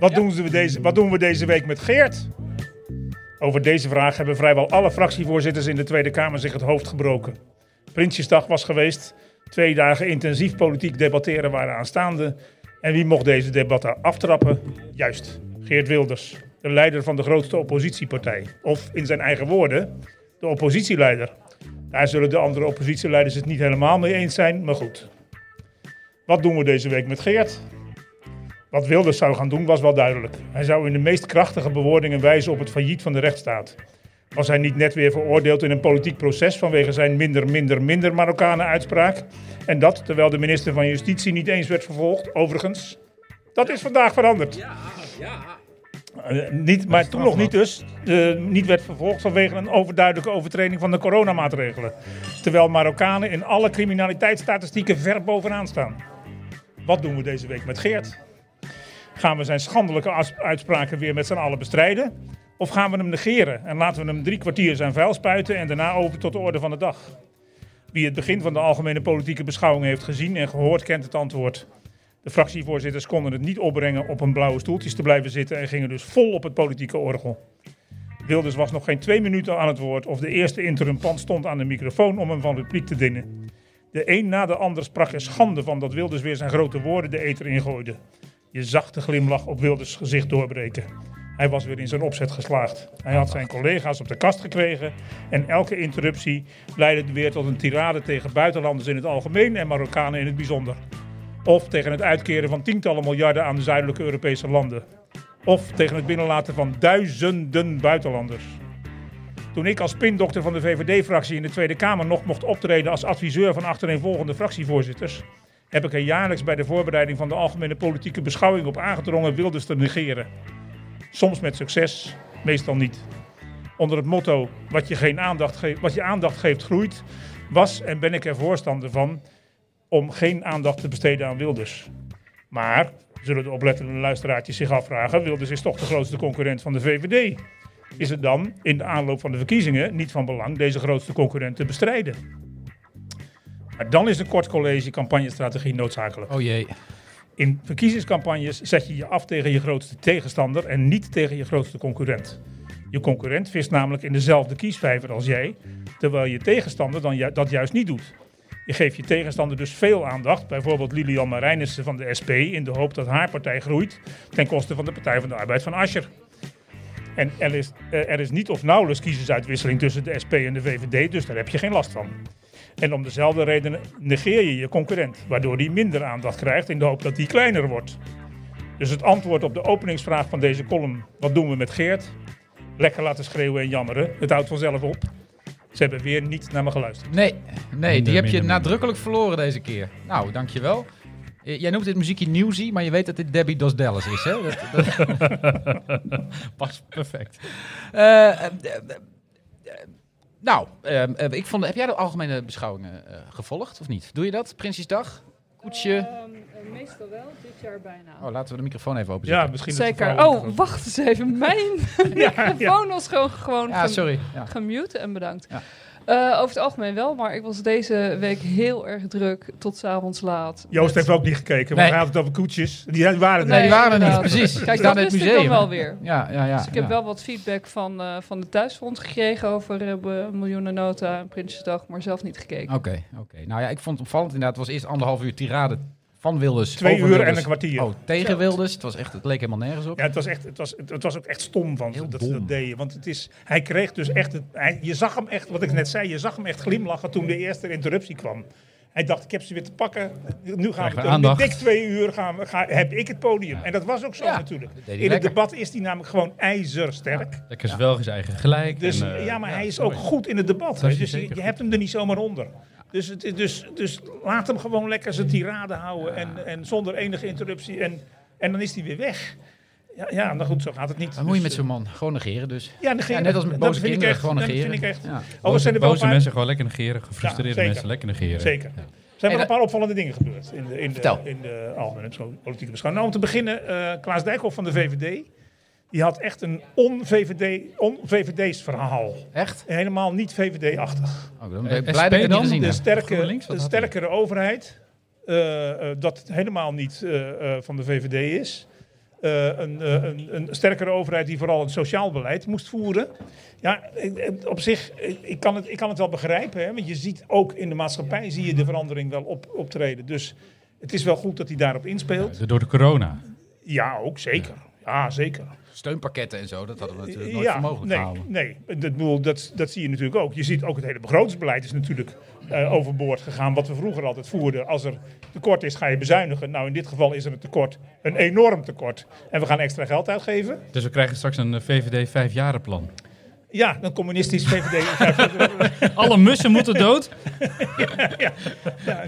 Wat, doen ze deze, wat doen we deze week met Geert? Over deze vraag hebben vrijwel alle fractievoorzitters in de Tweede Kamer zich het hoofd gebroken. Prinsjesdag was geweest. Twee dagen intensief politiek debatteren waren aanstaande. En wie mocht deze debatten aftrappen? Juist, Geert Wilders. De leider van de grootste oppositiepartij. Of in zijn eigen woorden, de oppositieleider. Daar zullen de andere oppositieleiders het niet helemaal mee eens zijn, maar goed. Wat doen we deze week met Geert? Wat Wilders zou gaan doen was wel duidelijk. Hij zou in de meest krachtige bewoordingen wijzen op het failliet van de rechtsstaat. Was hij niet net weer veroordeeld in een politiek proces vanwege zijn minder, minder, minder Marokkanen uitspraak? En dat terwijl de minister van Justitie niet eens werd vervolgd, overigens. Dat is vandaag veranderd. Ja, ja. niet, maar toen nog niet dus. eh, niet werd vervolgd vanwege een overduidelijke overtreding van de coronamaatregelen. Terwijl Marokkanen in alle criminaliteitsstatistieken ver bovenaan staan. Wat doen we deze week met Geert? Gaan we zijn schandelijke as- uitspraken weer met z'n allen bestrijden? Of gaan we hem negeren en laten we hem drie kwartier zijn vuil spuiten en daarna over tot de orde van de dag? Wie het begin van de algemene politieke beschouwing heeft gezien en gehoord, kent het antwoord. De fractievoorzitters konden het niet opbrengen op hun blauwe stoeltjes te blijven zitten en gingen dus vol op het politieke orgel. Wilders was nog geen twee minuten aan het woord of de eerste interrumpant stond aan de microfoon om hem van repliek te dinnen. De een na de ander sprak er schande van dat Wilders weer zijn grote woorden de eter ingooide. Je zag de glimlach op Wilders gezicht doorbreken. Hij was weer in zijn opzet geslaagd. Hij had zijn collega's op de kast gekregen en elke interruptie leidde weer tot een tirade tegen buitenlanders in het algemeen en Marokkanen in het bijzonder. Of tegen het uitkeren van tientallen miljarden aan de zuidelijke Europese landen. Of tegen het binnenlaten van duizenden buitenlanders. Toen ik als pindokter van de VVD-fractie in de Tweede Kamer nog mocht optreden als adviseur van achtereenvolgende fractievoorzitters, heb ik er jaarlijks bij de voorbereiding van de algemene politieke beschouwing op aangedrongen Wilders te negeren. Soms met succes, meestal niet. Onder het motto: wat je, geen aandacht geeft, wat je aandacht geeft, groeit, was en ben ik er voorstander van om geen aandacht te besteden aan Wilders. Maar zullen de oplettende luisteraartjes zich afvragen: Wilders is toch de grootste concurrent van de VVD? Is het dan in de aanloop van de verkiezingen niet van belang deze grootste concurrent te bestrijden? Maar dan is een kort college campagnestrategie noodzakelijk.
Oh jee.
In verkiezingscampagnes zet je je af tegen je grootste tegenstander en niet tegen je grootste concurrent. Je concurrent vist namelijk in dezelfde kiesvijver als jij, terwijl je tegenstander dan ju- dat juist niet doet. Je geeft je tegenstander dus veel aandacht, bijvoorbeeld Lilian Marijnissen van de SP, in de hoop dat haar partij groeit ten koste van de Partij van de Arbeid van Ascher. En er is, eh, er is niet of nauwelijks kiezersuitwisseling tussen de SP en de VVD, dus daar heb je geen last van. En om dezelfde reden negeer je je concurrent, waardoor die minder aandacht krijgt in de hoop dat die kleiner wordt. Dus het antwoord op de openingsvraag van deze column, wat doen we met Geert? Lekker laten schreeuwen en jammeren, het houdt vanzelf op. Ze hebben weer niet naar me geluisterd.
Nee, nee
Minder,
die heb je
minder,
nadrukkelijk verloren deze keer. Nou, dankjewel. Eh, Jij noemt dit muziekje newsy, maar je weet dat dit Debbie Dos Dallas is, hè? Dat, dat,
<laughs> Pas perfect.
Eh, eh, eh, eh, nou, ehm, eh, ik vond, heb jij de algemene beschouwingen eh, gevolgd of niet? Doe je dat? Prinsjesdag? Koetsje?
Ehm, eh, meestal wel, dit jaar bijna.
Oh, laten we de microfoon even
Ja,
openzetten.
misschien dat de
Zeker.
vrouwen-
Oh, wacht eens
<laughs>
even. Mijn <laughs>
ja, ja.
telefoon was gewoon, gewoon
Ja,
gem-
sorry. Ja.
gemute en bedankt.
Ja.
Eh, over het algemeen wel, maar ik was deze week heel erg druk tot s'avonds laat.
Joost heeft ook niet gekeken, want
Nee.
hij had het over koetjes. Die waren er
Nee, die waren er niet,
inderdaad.
precies.
Kijk,
Staan
dat
in het
wist ik dan
museum.
wel weer.
Ja, ja, ja.
Dus ik heb
ja.
wel wat feedback van, eh, van de thuisfront gekregen over eh, Miljoenennota en Prinsjesdag, maar zelf niet gekeken.
Oké, oké. Nou ja, ik vond het opvallend inderdaad. Het was eerst anderhalf uur tirade van Wilders.
Twee
over
uur en
Wilders.
een kwartier.
Oh, tegen Wilders. Het, was echt, het leek helemaal nergens op.
Ja, het was, echt, het, was, het, het was ook echt stom van ze
Heel
dat ze
dom.
dat deden. Want het is, hij kreeg dus echt... Het, hij- je zag hem echt, wat ik net zei, je zag hem echt glimlachen toen de eerste interruptie kwam. Hij dacht, ik heb ze weer te pakken. Nu gaan
Krijgen
we
we
het doen.
aandacht.
Dik twee uur gaan we, ga, heb ik het podium. En dat was ook zo
Ja,
natuurlijk.
dat deed hij
In het
lekker.
debat is hij namelijk gewoon ijzersterk.
Lekker zwelg is eigen gelijk.
Dus,
en, eh,
ja, maar hij is
mooi.
ook goed in het debat.
Dat
hè.
is
Dus je,
zeker
je
goed.
hebt hem er niet zomaar onder. Dus, het, is- dus, dus laat hem gewoon lekker zijn tirade houden. En, en zonder enige interruptie. En, en dan is hij weer weg. Ja, ja, nou goed, zo gaat het niet.
Wat moet je
Dus,
met zo'n man? Gewoon negeren dus.
ja, negeren.
Ja, net als met
Dat
boze
vind ik
kinderen.
echt-
gewoon
dat
negeren.
vind ik echt.
Ja.
Oh, er zijn er wel een
Boze
paar,
mensen gewoon lekker negeren.
Ja,
Gefrustreerde
zeker.
mensen lekker negeren.
Zeker. Er zijn
En
wel
dat-
een paar opvallende dingen gebeurd in de, in de,
Vertel.
in de algemene perso- politieke beschouwing. Nou, om te beginnen, eh, Klaas Dijkhoff van de VVD. Die had echt een on-VVD, on-VVD's verhaal.
Echt?
Helemaal niet VVD-achtig.
Oh, dan ben ik
Eh,
blij dat ik het niet
dan?
gezien
de
heb.
sterke,
GroenLinks, wat
een
had hij?
sterkere overheid, eh, eh, dat het helemaal niet eh, eh, van de VVD is. Eh, een, eh, een, een sterkere overheid die vooral het sociaal beleid moest voeren. Ja, eh, eh, op zich, eh, ik kan het, ik kan het wel begrijpen. Hè, want je ziet ook in de maatschappij zie je de verandering wel op, optreden. Dus het is wel goed dat hij daarop inspeelt.
Door de corona.
Ja, ook zeker. Ja, zeker.
Steunpakketten en zo, dat hadden we
eh,
natuurlijk nooit voor
Ja,
mogelijk
nee,
gehouden.
nee. Dat, bedoel, dat, dat zie je natuurlijk ook. Je ziet ook het hele begrotingsbeleid is natuurlijk eh, overboord gegaan. Wat we vroeger altijd voerden. Als er tekort is, ga je bezuinigen. Nou, in dit geval is er een tekort. Een enorm tekort. En we gaan extra geld uitgeven.
Dus we krijgen straks een eh, VVD vijfjarenplan.
Ja, een
<laughs>
communistisch VVD.
Alle mussen moeten dood.
ja,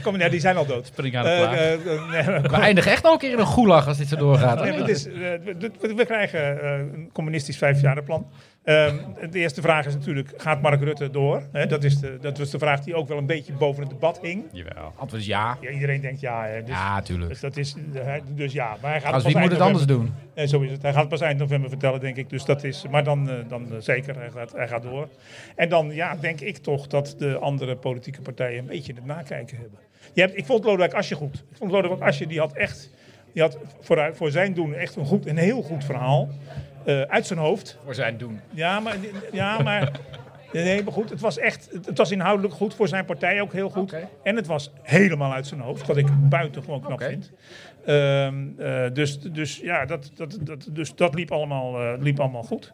kom, nee, die zijn al dood.
Spring aan de plaat.
Eh, eh, eh, nee,
We eindigen echt nog een keer in een gulag als dit zo doorgaat.
Nee, maar het is, eh, we- we, we krijgen eh, een communistisch vijfjarenplan. Ehm de eerste vraag is natuurlijk, gaat Mark Rutte door? Hè, dat, is de, dat was de vraag die ook wel een beetje boven het debat hing.
Jawel.
Antwoord is ja.
Ja, iedereen denkt ja. hè, dus,
Ja, tuurlijk.
dus dat is, hij- dus ja, maar hij gaat
Als
pas
wie moet
eind
het anders
november-
doen?
Eh, zo is het. Hij gaat het pas eind november vertellen, denk ik. Dus dat is, maar dan, eh, dan eh, zeker, hij gaat, hij gaat door. En dan ja, denk ik toch dat de andere politieke partijen een beetje het nakijken hebben. Je hebt, ik vond Lodewijk Asje goed. Ik vond Lodewijk Asje, die had echt, die had voor, voor zijn doen echt een, goed, een heel goed verhaal. eh, uit zijn hoofd.
Voor zijn doen.
Ja, maar. Ja, maar nee, maar goed. Het was echt. Het was inhoudelijk goed voor zijn partij ook heel goed.
Oké.
En het was helemaal uit zijn hoofd. Wat ik buitengewoon knap
Oké.
vind. Ehm, eh, dus, dus ja, dat, dat, dat, dus dat liep, allemaal, eh, liep allemaal goed.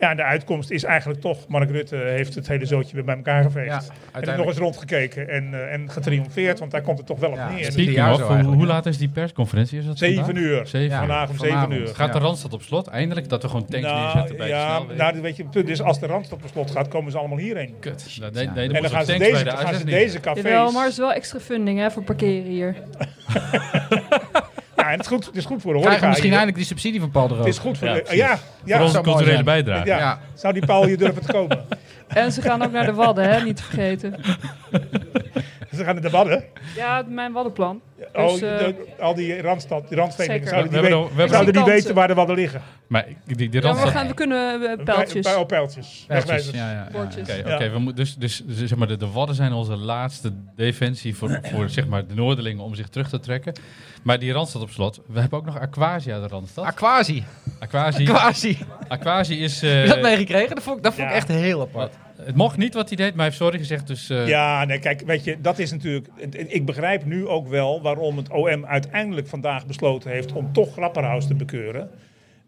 Ja, en de uitkomst is eigenlijk toch. Mark Rutte heeft het hele zootje weer bij elkaar geveegd.
Ja,
en heeft nog
uiteindelijk.
eens rondgekeken en, eh, en getriomfeerd. Want daar komt het toch wel op
Ja,
neer.
het
Dus
ieder jaar
Speaking of,
zo
hoe- hoe,
eigenlijk, ja.
laat is die persconferentie? Is dat
Zeven
vandaag?
uur.
Zeven
Ja.
uur.
Vandaag om
Vanavond.
zeven uur.
Gaat de
Ja.
Randstad op slot? Eindelijk dat we gewoon tanks neerzetten bij de
ja,
snelweg.
nou, weet je, het punt is, als de Randstad op slot gaat, komen ze allemaal hierheen.
Kut. Nee, nee, nee, er
En
moeten
dan gaan ze
tanks bij
deze,
de
gaan
AZ
ze
neer.
deze
Jawel,
cafés.
maar het is wel extra funding hè, voor parkeren hier.
Ja, en het is goed, het is goed voor de
Krijgen
horeca.
we misschien
hier.
eindelijk die subsidie van Paul de Rood.
Het is goed voor
Ja,
de...
precies.
Ja, ja,
Voor onze
zou mooi
culturele
zijn.
bijdrage.
ja.
Ja.
Zou die paal hier durven te komen? <laughs>
En ze gaan ook naar de Wadden, hè, niet te vergeten.
Ze gaan in de badden.
Ja, mijn waddenplan.
Oh,
Dus, eh,
de- al die randstad, die randstedingen
zeker.
zouden,
We hebben
niet, weten-
dan- we hebben
zouden
dan-
niet weten waar de wadden liggen.
Maar die, die, die
ja, maar we,
randstad-
gaan, we kunnen eh,
Bij-
pijltjes.
Bij, oh, pijltjes.
Pijltjes,
Wegwijzers.
ja, ja, ja. Oké,
Bordjes.
Ja.
oké, we moeten- dus, dus dus zeg maar, de, de Wadden zijn onze laatste defensie voor, voor zeg maar, de Noorderlingen om zich terug te trekken. Maar die Randstad op slot. We hebben ook nog Aquasia, de Randstad.
Aquasi.
Aquasia,
Aquasi.
Aquasia is...
Heb
eh,
je dat meegekregen? Dat vond ik, dat vond ik
Ja.
echt heel apart.
het mocht niet wat hij deed, maar hij heeft sorry gezegd. Dus, eh,
Ja, nee, kijk, weet je, dat is natuurlijk. het- het- Ik begrijp nu ook wel waarom het OM uiteindelijk vandaag besloten heeft om toch Grapperhaus te bekeuren.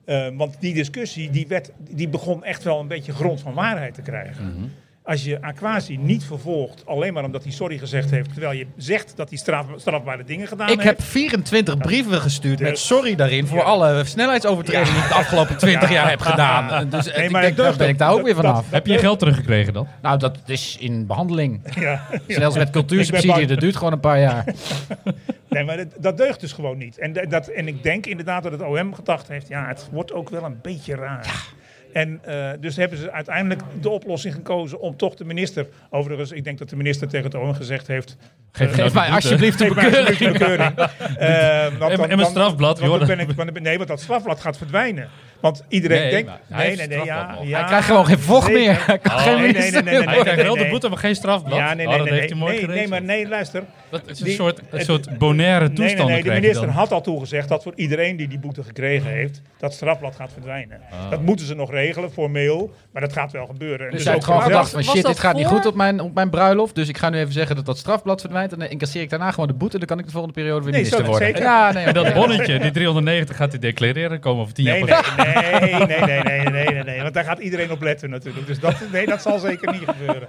Eh, want die discussie die werd, die begon echt wel een beetje grond van waarheid te krijgen.
Mhm.
Als je Aquasi niet vervolgt, alleen maar omdat hij sorry gezegd heeft, terwijl je zegt dat hij straf, strafbare dingen gedaan
Ik
heeft.
heb 24 brieven gestuurd met
Dus-
sorry daarin voor
Ja.
alle snelheidsovertredingen die ik de afgelopen 20 jaar heb gedaan. Dus eh,
Nee,
ik
maar
denk,
dat-
daar ben ik daar ook
dat-
weer van
dat-
af.
Heb je je geld teruggekregen dan?
Nou, dat is in behandeling.
<laughs> Ja.
Zelfs met
Ik ben
cultuursubsidie,
bang.
dat duurt gewoon een paar
<laughs>
jaar.
Nee, maar dat, dat deugt dus gewoon niet. En, da- dat, en ik denk inderdaad dat het OM gedacht heeft, ja, het wordt ook wel een beetje raar. En eh, dus hebben ze uiteindelijk de oplossing gekozen om toch de minister... Overigens, ik denk dat de minister tegen het OM gezegd heeft...
Geef,
Eh,
Geef
nou de
mij
boete.
alsjeblieft een
Geef mij
bekeuring.
alsjeblieft een bekeuring. Eh, want dan-
En- en mijn
dan-
strafblad,
want
joh.
dan ben ik- want dan ben- Nee, want dat strafblad gaat verdwijnen. Want iedereen
Nee,
denkt...
maar hij heeft strafblad nog.
Hij krijgt gewoon geen vocht
Zeker.
meer. <laughs> Hij kan
Oh,
geen
nee, nee,
minister
nee, nee,
meer
Hij
nee,
worden.
krijgt wel de boete, maar geen strafblad.
Ja, nee,
Oh,
nee,
dat
nee,
heeft hij mooi
nee, nee,
geregeld.
maar nee, luister.
Dat is een
Die-
soort, een
het-
soort bonaire
Nee,
toestand.
nee, nee, de minister had al toegezegd dat voor iedereen die die boete gekregen heeft, dat strafblad gaat verdwijnen.
Ah.
Dat moeten ze nog regelen, formeel, maar dat gaat wel gebeuren. En
Dus hij heeft
ook
gewoon
wel-
gedacht van
was
shit,
dat
dit gaat niet
voor?
goed op mijn, op mijn bruiloft. Dus ik ga nu even zeggen dat dat strafblad verdwijnt. En dan incasseer ik daarna gewoon de boete. Dan kan ik de volgende periode weer
Nee,
minister
zo,
worden.
zeker.
Ja, nee,
En
<laughs>
oké.
dat bonnetje, die 390, gaat hij declareren komen over 10 jaar.
Nee, nee,
<laughs>
nee, nee, nee, nee, nee, nee, nee, want daar gaat iedereen op letten natuurlijk. Dus dat, nee, dat zal zeker niet gebeuren.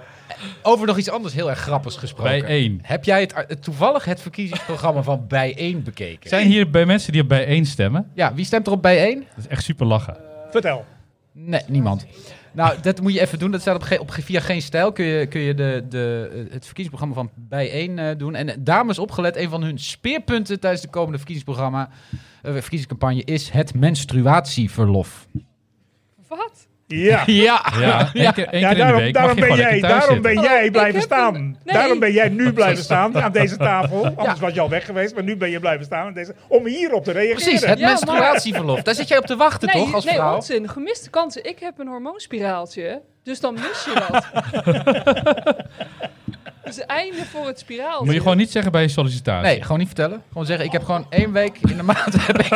Over nog iets anders heel erg grappigs gesproken.
Bijeen.
Heb jij het, eh, toevallig het verkiezingsprogramma van Bijeen bekeken?
Zijn hier bij mensen die op bijeen stemmen?
Ja, wie stemt er op Bijeen?
Dat is echt super lachen.
Vertel.
Nee, niemand. Nou, dat moet je even doen. Dat staat op, ge- op ge- via geen stijl. Kun je, kun je de, de, eh, het verkiezingsprogramma van bijeen eh, doen. En eh, dames opgelet, een van hun speerpunten tijdens de komende verkiezingsprogramma, eh, verkiezingscampagne is het menstruatieverlof.
Wat?
<laughs>
Ja.
Ja.
Ja, één keer, één keer in
Ja,
de
daarom,
week mag
daarom,
je
ben,
gewoon lekker thuis
jij, daarom
zitten.
ben
Oh,
jij
ik
blijven
heb een-
staan.
nee.
Daarom ben jij nu blijven staan aan deze
<laughs>
tafel. Anders was je al weg geweest, maar nu ben je blijven staan aan deze, om hierop te reageren.
Precies, het
Ja,
menstruatieverlof. Daar zit jij op te wachten, toch, als
nee
vrouw?
onzin. Gemiste kansen. Ik heb een hormoonspiraaltje, dus dan mis je dat. dus einde voor het spiraaltje.
Moet je gewoon niet zeggen bij je sollicitatie.
Nee, gewoon niet vertellen. Gewoon zeggen, ik heb gewoon één week in de maand... Heb ik,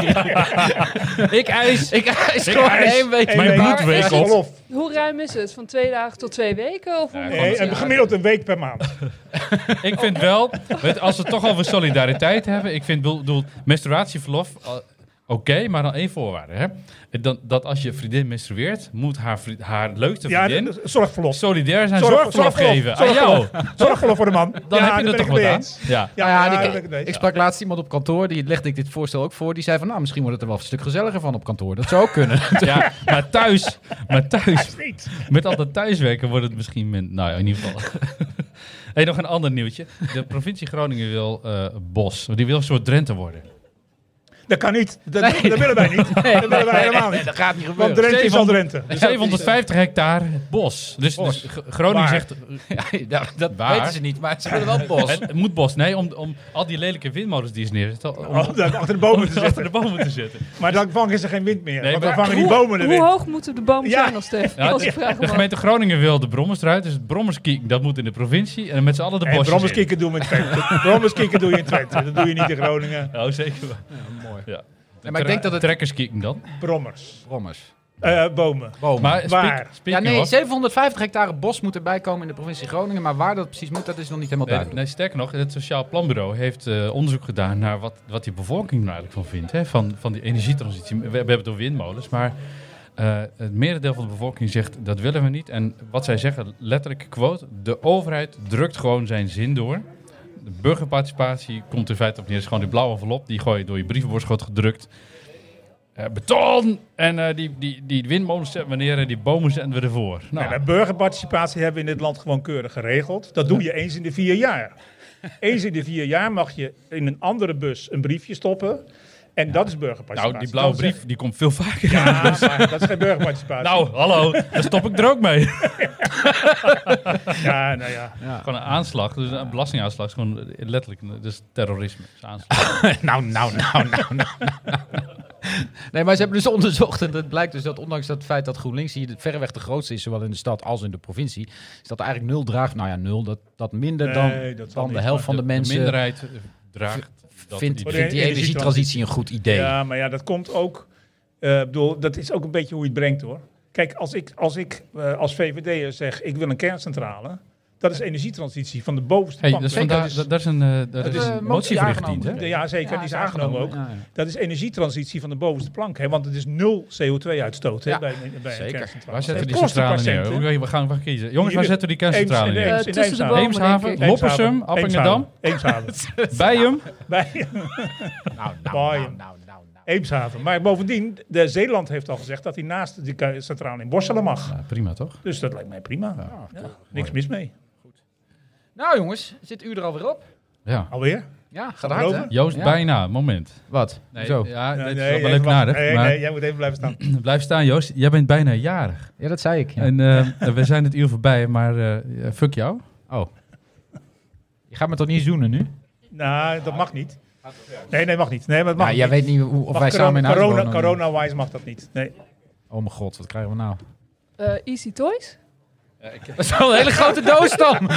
ik eis... Ik eis gewoon
eis
één week.
één
Mijn
week.
bloed
Verlof.
winkelt.
Hoe ruim is het? Van twee dagen tot twee weken? Of hoe
Nee,
moet
Nee,
het?
en gemiddeld een week per maand.
Ik vind wel, weet, als we het toch over solidariteit hebben. Ik vind, bedoel, menstruatieverlof, eh, oké, maar dan één voorwaarde. Hè? Eh, Dan, dat als je vriendin menstrueert, moet haar, vri- haar leukste
Ja,
vriendin
dat- zorgverlof.
solidair zijn
Zorg-
zorgverlof
zorgverlof,
geven aan jou.
zorgverlof. Zorgverlof voor de man.
Dan
Ja,
heb je
daar
het
ben
toch
ik mee
wat aan.
eens.
Ja.
Ja,
Nou ja,
daar
die-
ben ik het mee
ik,
eens.
sprak laatst iemand op kantoor, die legde ik dit voorstel ook voor. Die zei van, nou, misschien wordt het er wel een stuk gezelliger van op kantoor. Dat zou ook kunnen.
Ja, maar thuis, maar thuis,
Niet.
met al dat thuiswerken wordt het misschien... min- nou ja, in ieder geval. <laughs> hey, nog een ander nieuwtje. De provincie Groningen wil eh, Bos. Die wil een soort Drenthe worden.
Dat kan niet. Dat,
Nee.
dat willen wij niet. dat willen wij helemaal niet.
dat gaat niet
Want
gebeuren.
Drenthe is al
Stefan-
Drenthe.
<laughs> 750 hectare bos. Dus, dus G- Groningen
Waar?
zegt... eh,
Ja, dat dat
Waar?
weten ze niet, maar ze willen wel bos.
<laughs> Het moet bos. Nee, om, om al die lelijke windmolens die ze neerzetten. Om,
Oh, dat- achter
<laughs>
de
om
bomen te
ze achter
zetten.
<laughs> de bomen te zetten.
Maar dan vangen ze geen wind meer.
Nee,
want dan
maar-
vangen die
Hoe-
bomen de
Hoe
wind.
hoog moeten de bomen
Ja.
zijn nog, Stef?
Ja,
Als ik
de,
vraag
de
mag.
gemeente Groningen wil de brommers eruit. Dus het brommerskiek, dat moet in de provincie. En dan met z'n allen de
En
bosjes
brommerskikken doen we in Twente. Brommerskikken doe je in Twente. Dat doe je niet in Groningen.
in. Oh, zeker wel.
mooi.
Ja.
maar ik denk dat het-
Trekkerskieken dan.
Brommers.
Brommers.
Eh, bomen.
Bomen.
Maar
Waar?
speak- speaking
ja, nee,
of-
750 hectare bos moet erbij komen in de provincie Groningen. Maar waar dat precies moet, dat is nog niet helemaal
Nee,
duidelijk.
nee, sterker nog, het Sociaal Planbureau heeft eh, onderzoek gedaan naar wat, wat die bevolking er eigenlijk van vindt. Hè? Van, van die energietransitie. We, we hebben het door windmolens, maar eh, het merendeel van de bevolking zegt dat willen we niet. En wat zij zeggen, letterlijk quote, de overheid drukt gewoon zijn zin door. De burgerparticipatie komt in feite op neer. Het is gewoon die blauwe envelop, die gooi je door je brievenbordschot gedrukt. Eh, beton! En eh, die, die, die windmolens zetten we neer en die bomen zetten we ervoor. Nou,
Nou, burgerparticipatie hebben we in dit land gewoon keurig geregeld. Dat doe je eens in de vier jaar. Eens in de vier jaar mag je in een andere bus een briefje stoppen. En dat is burgerparticipatie.
Nou, die blauwe
Dan zeg-
brief die komt veel vaker.
Ja, maar dat is geen burgerparticipatie.
Nou, hallo, daar stop ik er ook mee.
Ja, nou ja.
Gewoon een aanslag, dus een belastingaanslag is gewoon eh, letterlijk, dus terrorisme. is aanslag.
nou, nou, nou, nou, nou. Nee, maar ze hebben dus onderzocht en het blijkt dus dat ondanks dat feit dat GroenLinks hier de- verreweg de grootste is, zowel in de stad als in de provincie, is dat er eigenlijk nul draagt. Nou ja, nul, dat, dat minder
Nee,
dan,
dat zal
dan de
niet,
helft van de, mensen
minderheid eh, draagt dat
vindt,
idee.
vindt die
Energietransitie.
energietransitie een goed idee.
Ja, maar ja, dat komt ook. eh, bedoel, dat is ook een beetje hoe je het brengt hoor. Kijk, als ik als, ik, eh, als VVD'er zeg ik wil een kerncentrale, dat is energietransitie van de bovenste
Hey,
plank.
dat is
Kijk,
vandaar-
dat is-
dat- daar is een, eh, daar
Dat
is
is
een
een
motie
motie
voor
aangenomen.
ingediend, hè?
ja, zeker. die is aangenomen ook.
Ja, ja.
Dat is energietransitie van de bovenste plank. Hè? Want het is nul CO2-uitstoot hè
Ja,
bij, bij een
zeker.
kerncentrale.
Waar zetten
Het
we die
kost een
centrale
patiënt,
neer?
hè?
Hoe- We gaan, we gaan kiezen. Jongens, waar
Jullie-
zetten we die
Eems-
kerncentrale
nee,
neer?
Eh,
in
tussen de
Eemshaven.
bomen, denk
Eemshaven,
ik.
Loppersum, Appingedam, <laughs>
Eemshaven. Eemshaven.
Bijum.
Bij <laughs>
Nou, nou,
Mooi.
nou, nou, nou, nou.
Eemshaven. Maar bovendien, de Zeeland heeft al gezegd dat hij naast de ke- centrale in Borselen mag.
Oh, Ja, prima toch?
Dus dat lijkt mij prima. Ja, niks
Mooi.
mis mee.
Nou jongens, zit u er alweer op?
Ja.
Alweer?
Ja, gaat hard hè?
Over?
Joost,
Ja.
bijna. Moment.
Wat?
Nee,
Zo.
Ja,
Nee,
dit
nee,
is wel
nee,
leuk
wacht.
nadig.
Nee,
maar
nee, jij moet even blijven staan.
blijf staan, Joost. Jij bent bijna jarig.
Ja, dat zei ik. ja.
En eh, we zijn het uur voorbij, maar eh, fuck jou.
Oh. Je gaat me toch niet zoenen nu?
Nou, dat mag niet. Nee, nee, mag niet. Nee, maar dat mag
Nou, jij
niet.
weet niet hoe, of
Mag
wij
corona-
samen in huis
corona,
wonen.
Corona-wise mag dat niet. Nee.
Oh mijn god, wat krijgen we nou?
Eh, easy Toys?
<laughs> Dat is wel een hele grote doos dan.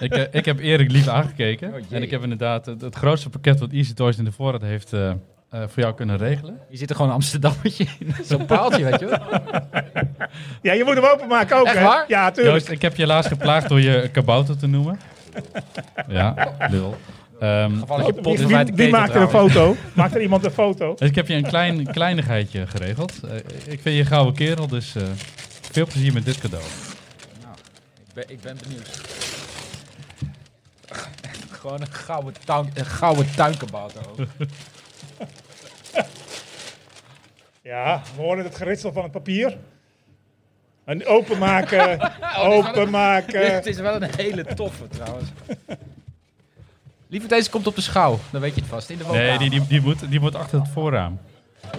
ik, eh, ik heb Erik lief aangekeken.
Oh, jee.
en ik heb inderdaad eh, het, het grootste pakket wat Easy Toys in de voorraad heeft eh, eh, voor jou kunnen regelen.
Hier zit er gewoon een Amsterdammetje in. <laughs> Zo'n paaltje, weet je wel.
Ja, je moet hem openmaken ook.
Echt
hè?
waar?
Ja, tuurlijk.
Joost, ik heb je helaas geplaagd door je een kabouter te noemen. Ja, lul. Ehm,
Gevalletje
dus-
pot
Wie,
is bij
wie,
de
wie
ketel
maakt er een
trouwens.
foto? Maakt er iemand een foto?
dus ik heb je een klein, kleinigheidje geregeld. Eh, ik vind je een gouden kerel, dus eh, veel plezier met dit cadeau.
Ik ben, ik ben benieuwd. <laughs> Gewoon een gouden, tuin, een gouden tuinkabouter. ook.
Ja, we horen het geritsel van het papier. En
<laughs> Oh,
openmaken.
<laughs>
openmaken.
Het is wel een hele toffe trouwens. Liever deze komt op de schouw. Dan weet je het vast. In de woonkamer.
Nee, die, die, die, moet, die moet achter het voorraam.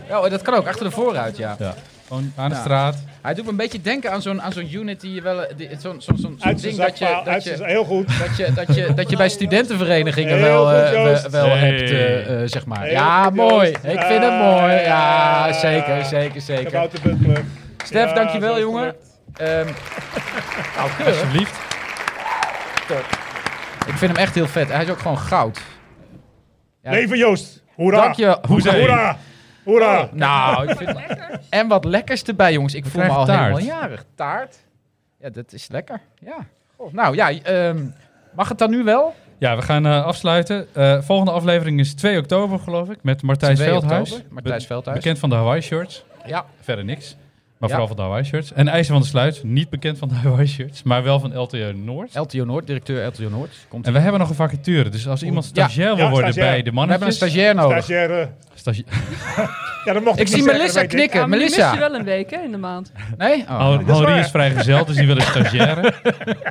Oh, en dat kan ook. Achter de vooruit, ja.
Ja. Gewoon aan de
Ja.
straat.
Hij doet me een beetje denken aan zo'n aan zo'n unit die je wel... eh, die- Zo'n zo'n zo'n zo'n
Uit zijn
ding dat je,
zakpaal. Uit
dat,
zijn
je,
heel goed.
dat, je, dat, je, dat je
<laughs>
bij studentenverenigingen wel,
Heel goed,
eh, wel-
Joost.
wel
Hey.
hebt, eh, eh, zeg maar.
Heel
ja,
goed,
mooi.
Joost.
Ik vind het
Ah,
mooi.
ja.
Ja, zeker, zeker, zeker.
Kabouter Butler.
Stef,
Ja, eh, zo
dankjewel,
is het
jongen.
gelukt.
Ehm, nou, keurig.
Alsjeblieft.
Ik vind hem echt heel vet. Hij is ook gewoon goud. Ja.
Leven Joost. Hoera.
Dank je. Hoezé.
Hoera. Hoera.
Oh.
<laughs>
Nou, ik vind En wat lekkers erbij, jongens. Ik voel me
krijgen
al
taart.
helemaal jarig. Taart. Ja, dat is lekker. Ja. Goh. Nou ja, ehm, mag het dan nu wel?
Ja, we gaan eh, afsluiten. Eh, volgende aflevering is 2 oktober, geloof ik, met Martijs
2
Veldhuis.
oktober, Martijs
Be-
Veldhuis.
Bekend van de Hawaii Shirts.
Ja.
Verder niks. Maar
Ja.
vooral van de Hawaii Shirts. En IJzer van de Sluit, niet bekend van de Hawaii Shirts, maar wel van LTO Noord.
LTO Noord, directeur LTO Noord. Komt
en we hebben nog een vacature, dus als iemand stagiair wil
Ja,
worden
stagiair.
bij de
we hebben een
mannetjes...
stagiair nodig.
Stagiaire.
stagiair.
Ja, dat
Ik
mocht niet
zie
zeggen,
Melissa
dat weet ik.
Ja,
knikken.
maar die mist je
Melissa.
wel een week hè, in de maand.
Nee? Oh, nou.
is waar.
is vrijgezel, dus die wil een
<laughs>
stagiaire.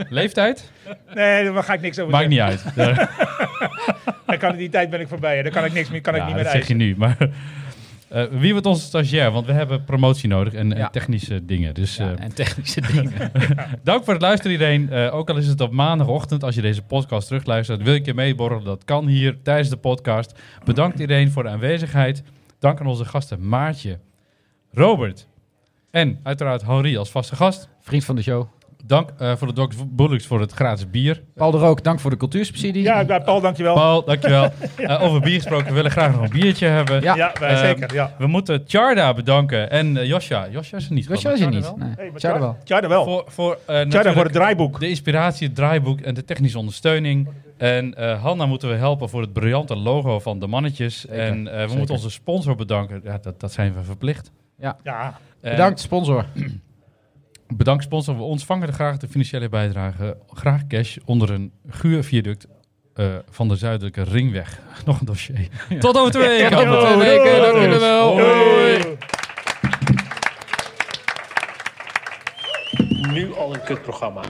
Leeftijd?
Nee, daar ga ik niks over
Maakt
zeggen.
niet
<laughs>
uit. Daar,
Dan kan, die tijd ben ik voorbij. hè. Dan kan ik niks meer, kan ik
ja,
niet
dat
meer
zeg je
eisen.
nu. Maar, eh, wie wordt onze stagiair? Want we hebben promotie nodig en, en
Ja.
technische dingen. Dus
Ja,
eh,
en <laughs> technische dingen.
Dank voor het luisteren iedereen. Eh, ook al is het op maandagochtend, als je deze podcast terugluistert, wil ik je meeborrelen. Dat kan hier tijdens de podcast. Bedankt iedereen voor de aanwezigheid. Dank aan onze gasten Maartje, Robert en uiteraard Henri als vaste gast.
Vriend van de show.
Dank eh, voor de Doc Bullocks voor het gratis bier.
Paul de Rook, dank voor de cultuursubsidie.
Ja, ja, Paul, dankjewel.
Paul,
<laughs>
dankjewel. Eh, over bier gesproken, we willen graag nog een biertje hebben.
Ja.
Ja, wij
Ehm,
zeker. Ja.
We moeten Charda bedanken en eh, Josja. Josja is er niet.
Weet je wel,
geloof
is
ik.
het niet? Nee.
Hey, maar
Ciao
Tja-
dan wel.
Tja, dan wel. Voor,
Voor, voor, eh,
Tja, dan voor het
natuurlijk-
draaiboek.
De inspiratie, het draaiboek en de technische ondersteuning. En eh Hanna moeten we helpen voor het briljante logo van de mannetjes. en eh, we
zeker.
moeten onze sponsor bedanken. Ja, dat, dat zijn we verplicht.
Ja,
En
Bedankt, sponsor.
Bedankt sponsor. We ontvangen graag de financiële bijdrage. Graag cash onder een guurviaduct eh, van de Zuidelijke Ringweg. <laughs> Nog een dossier. Tot over twee weken.
Tot over twee
Doei.
weken, dank jullie wel.
Doei.
Nu al een kutprogramma.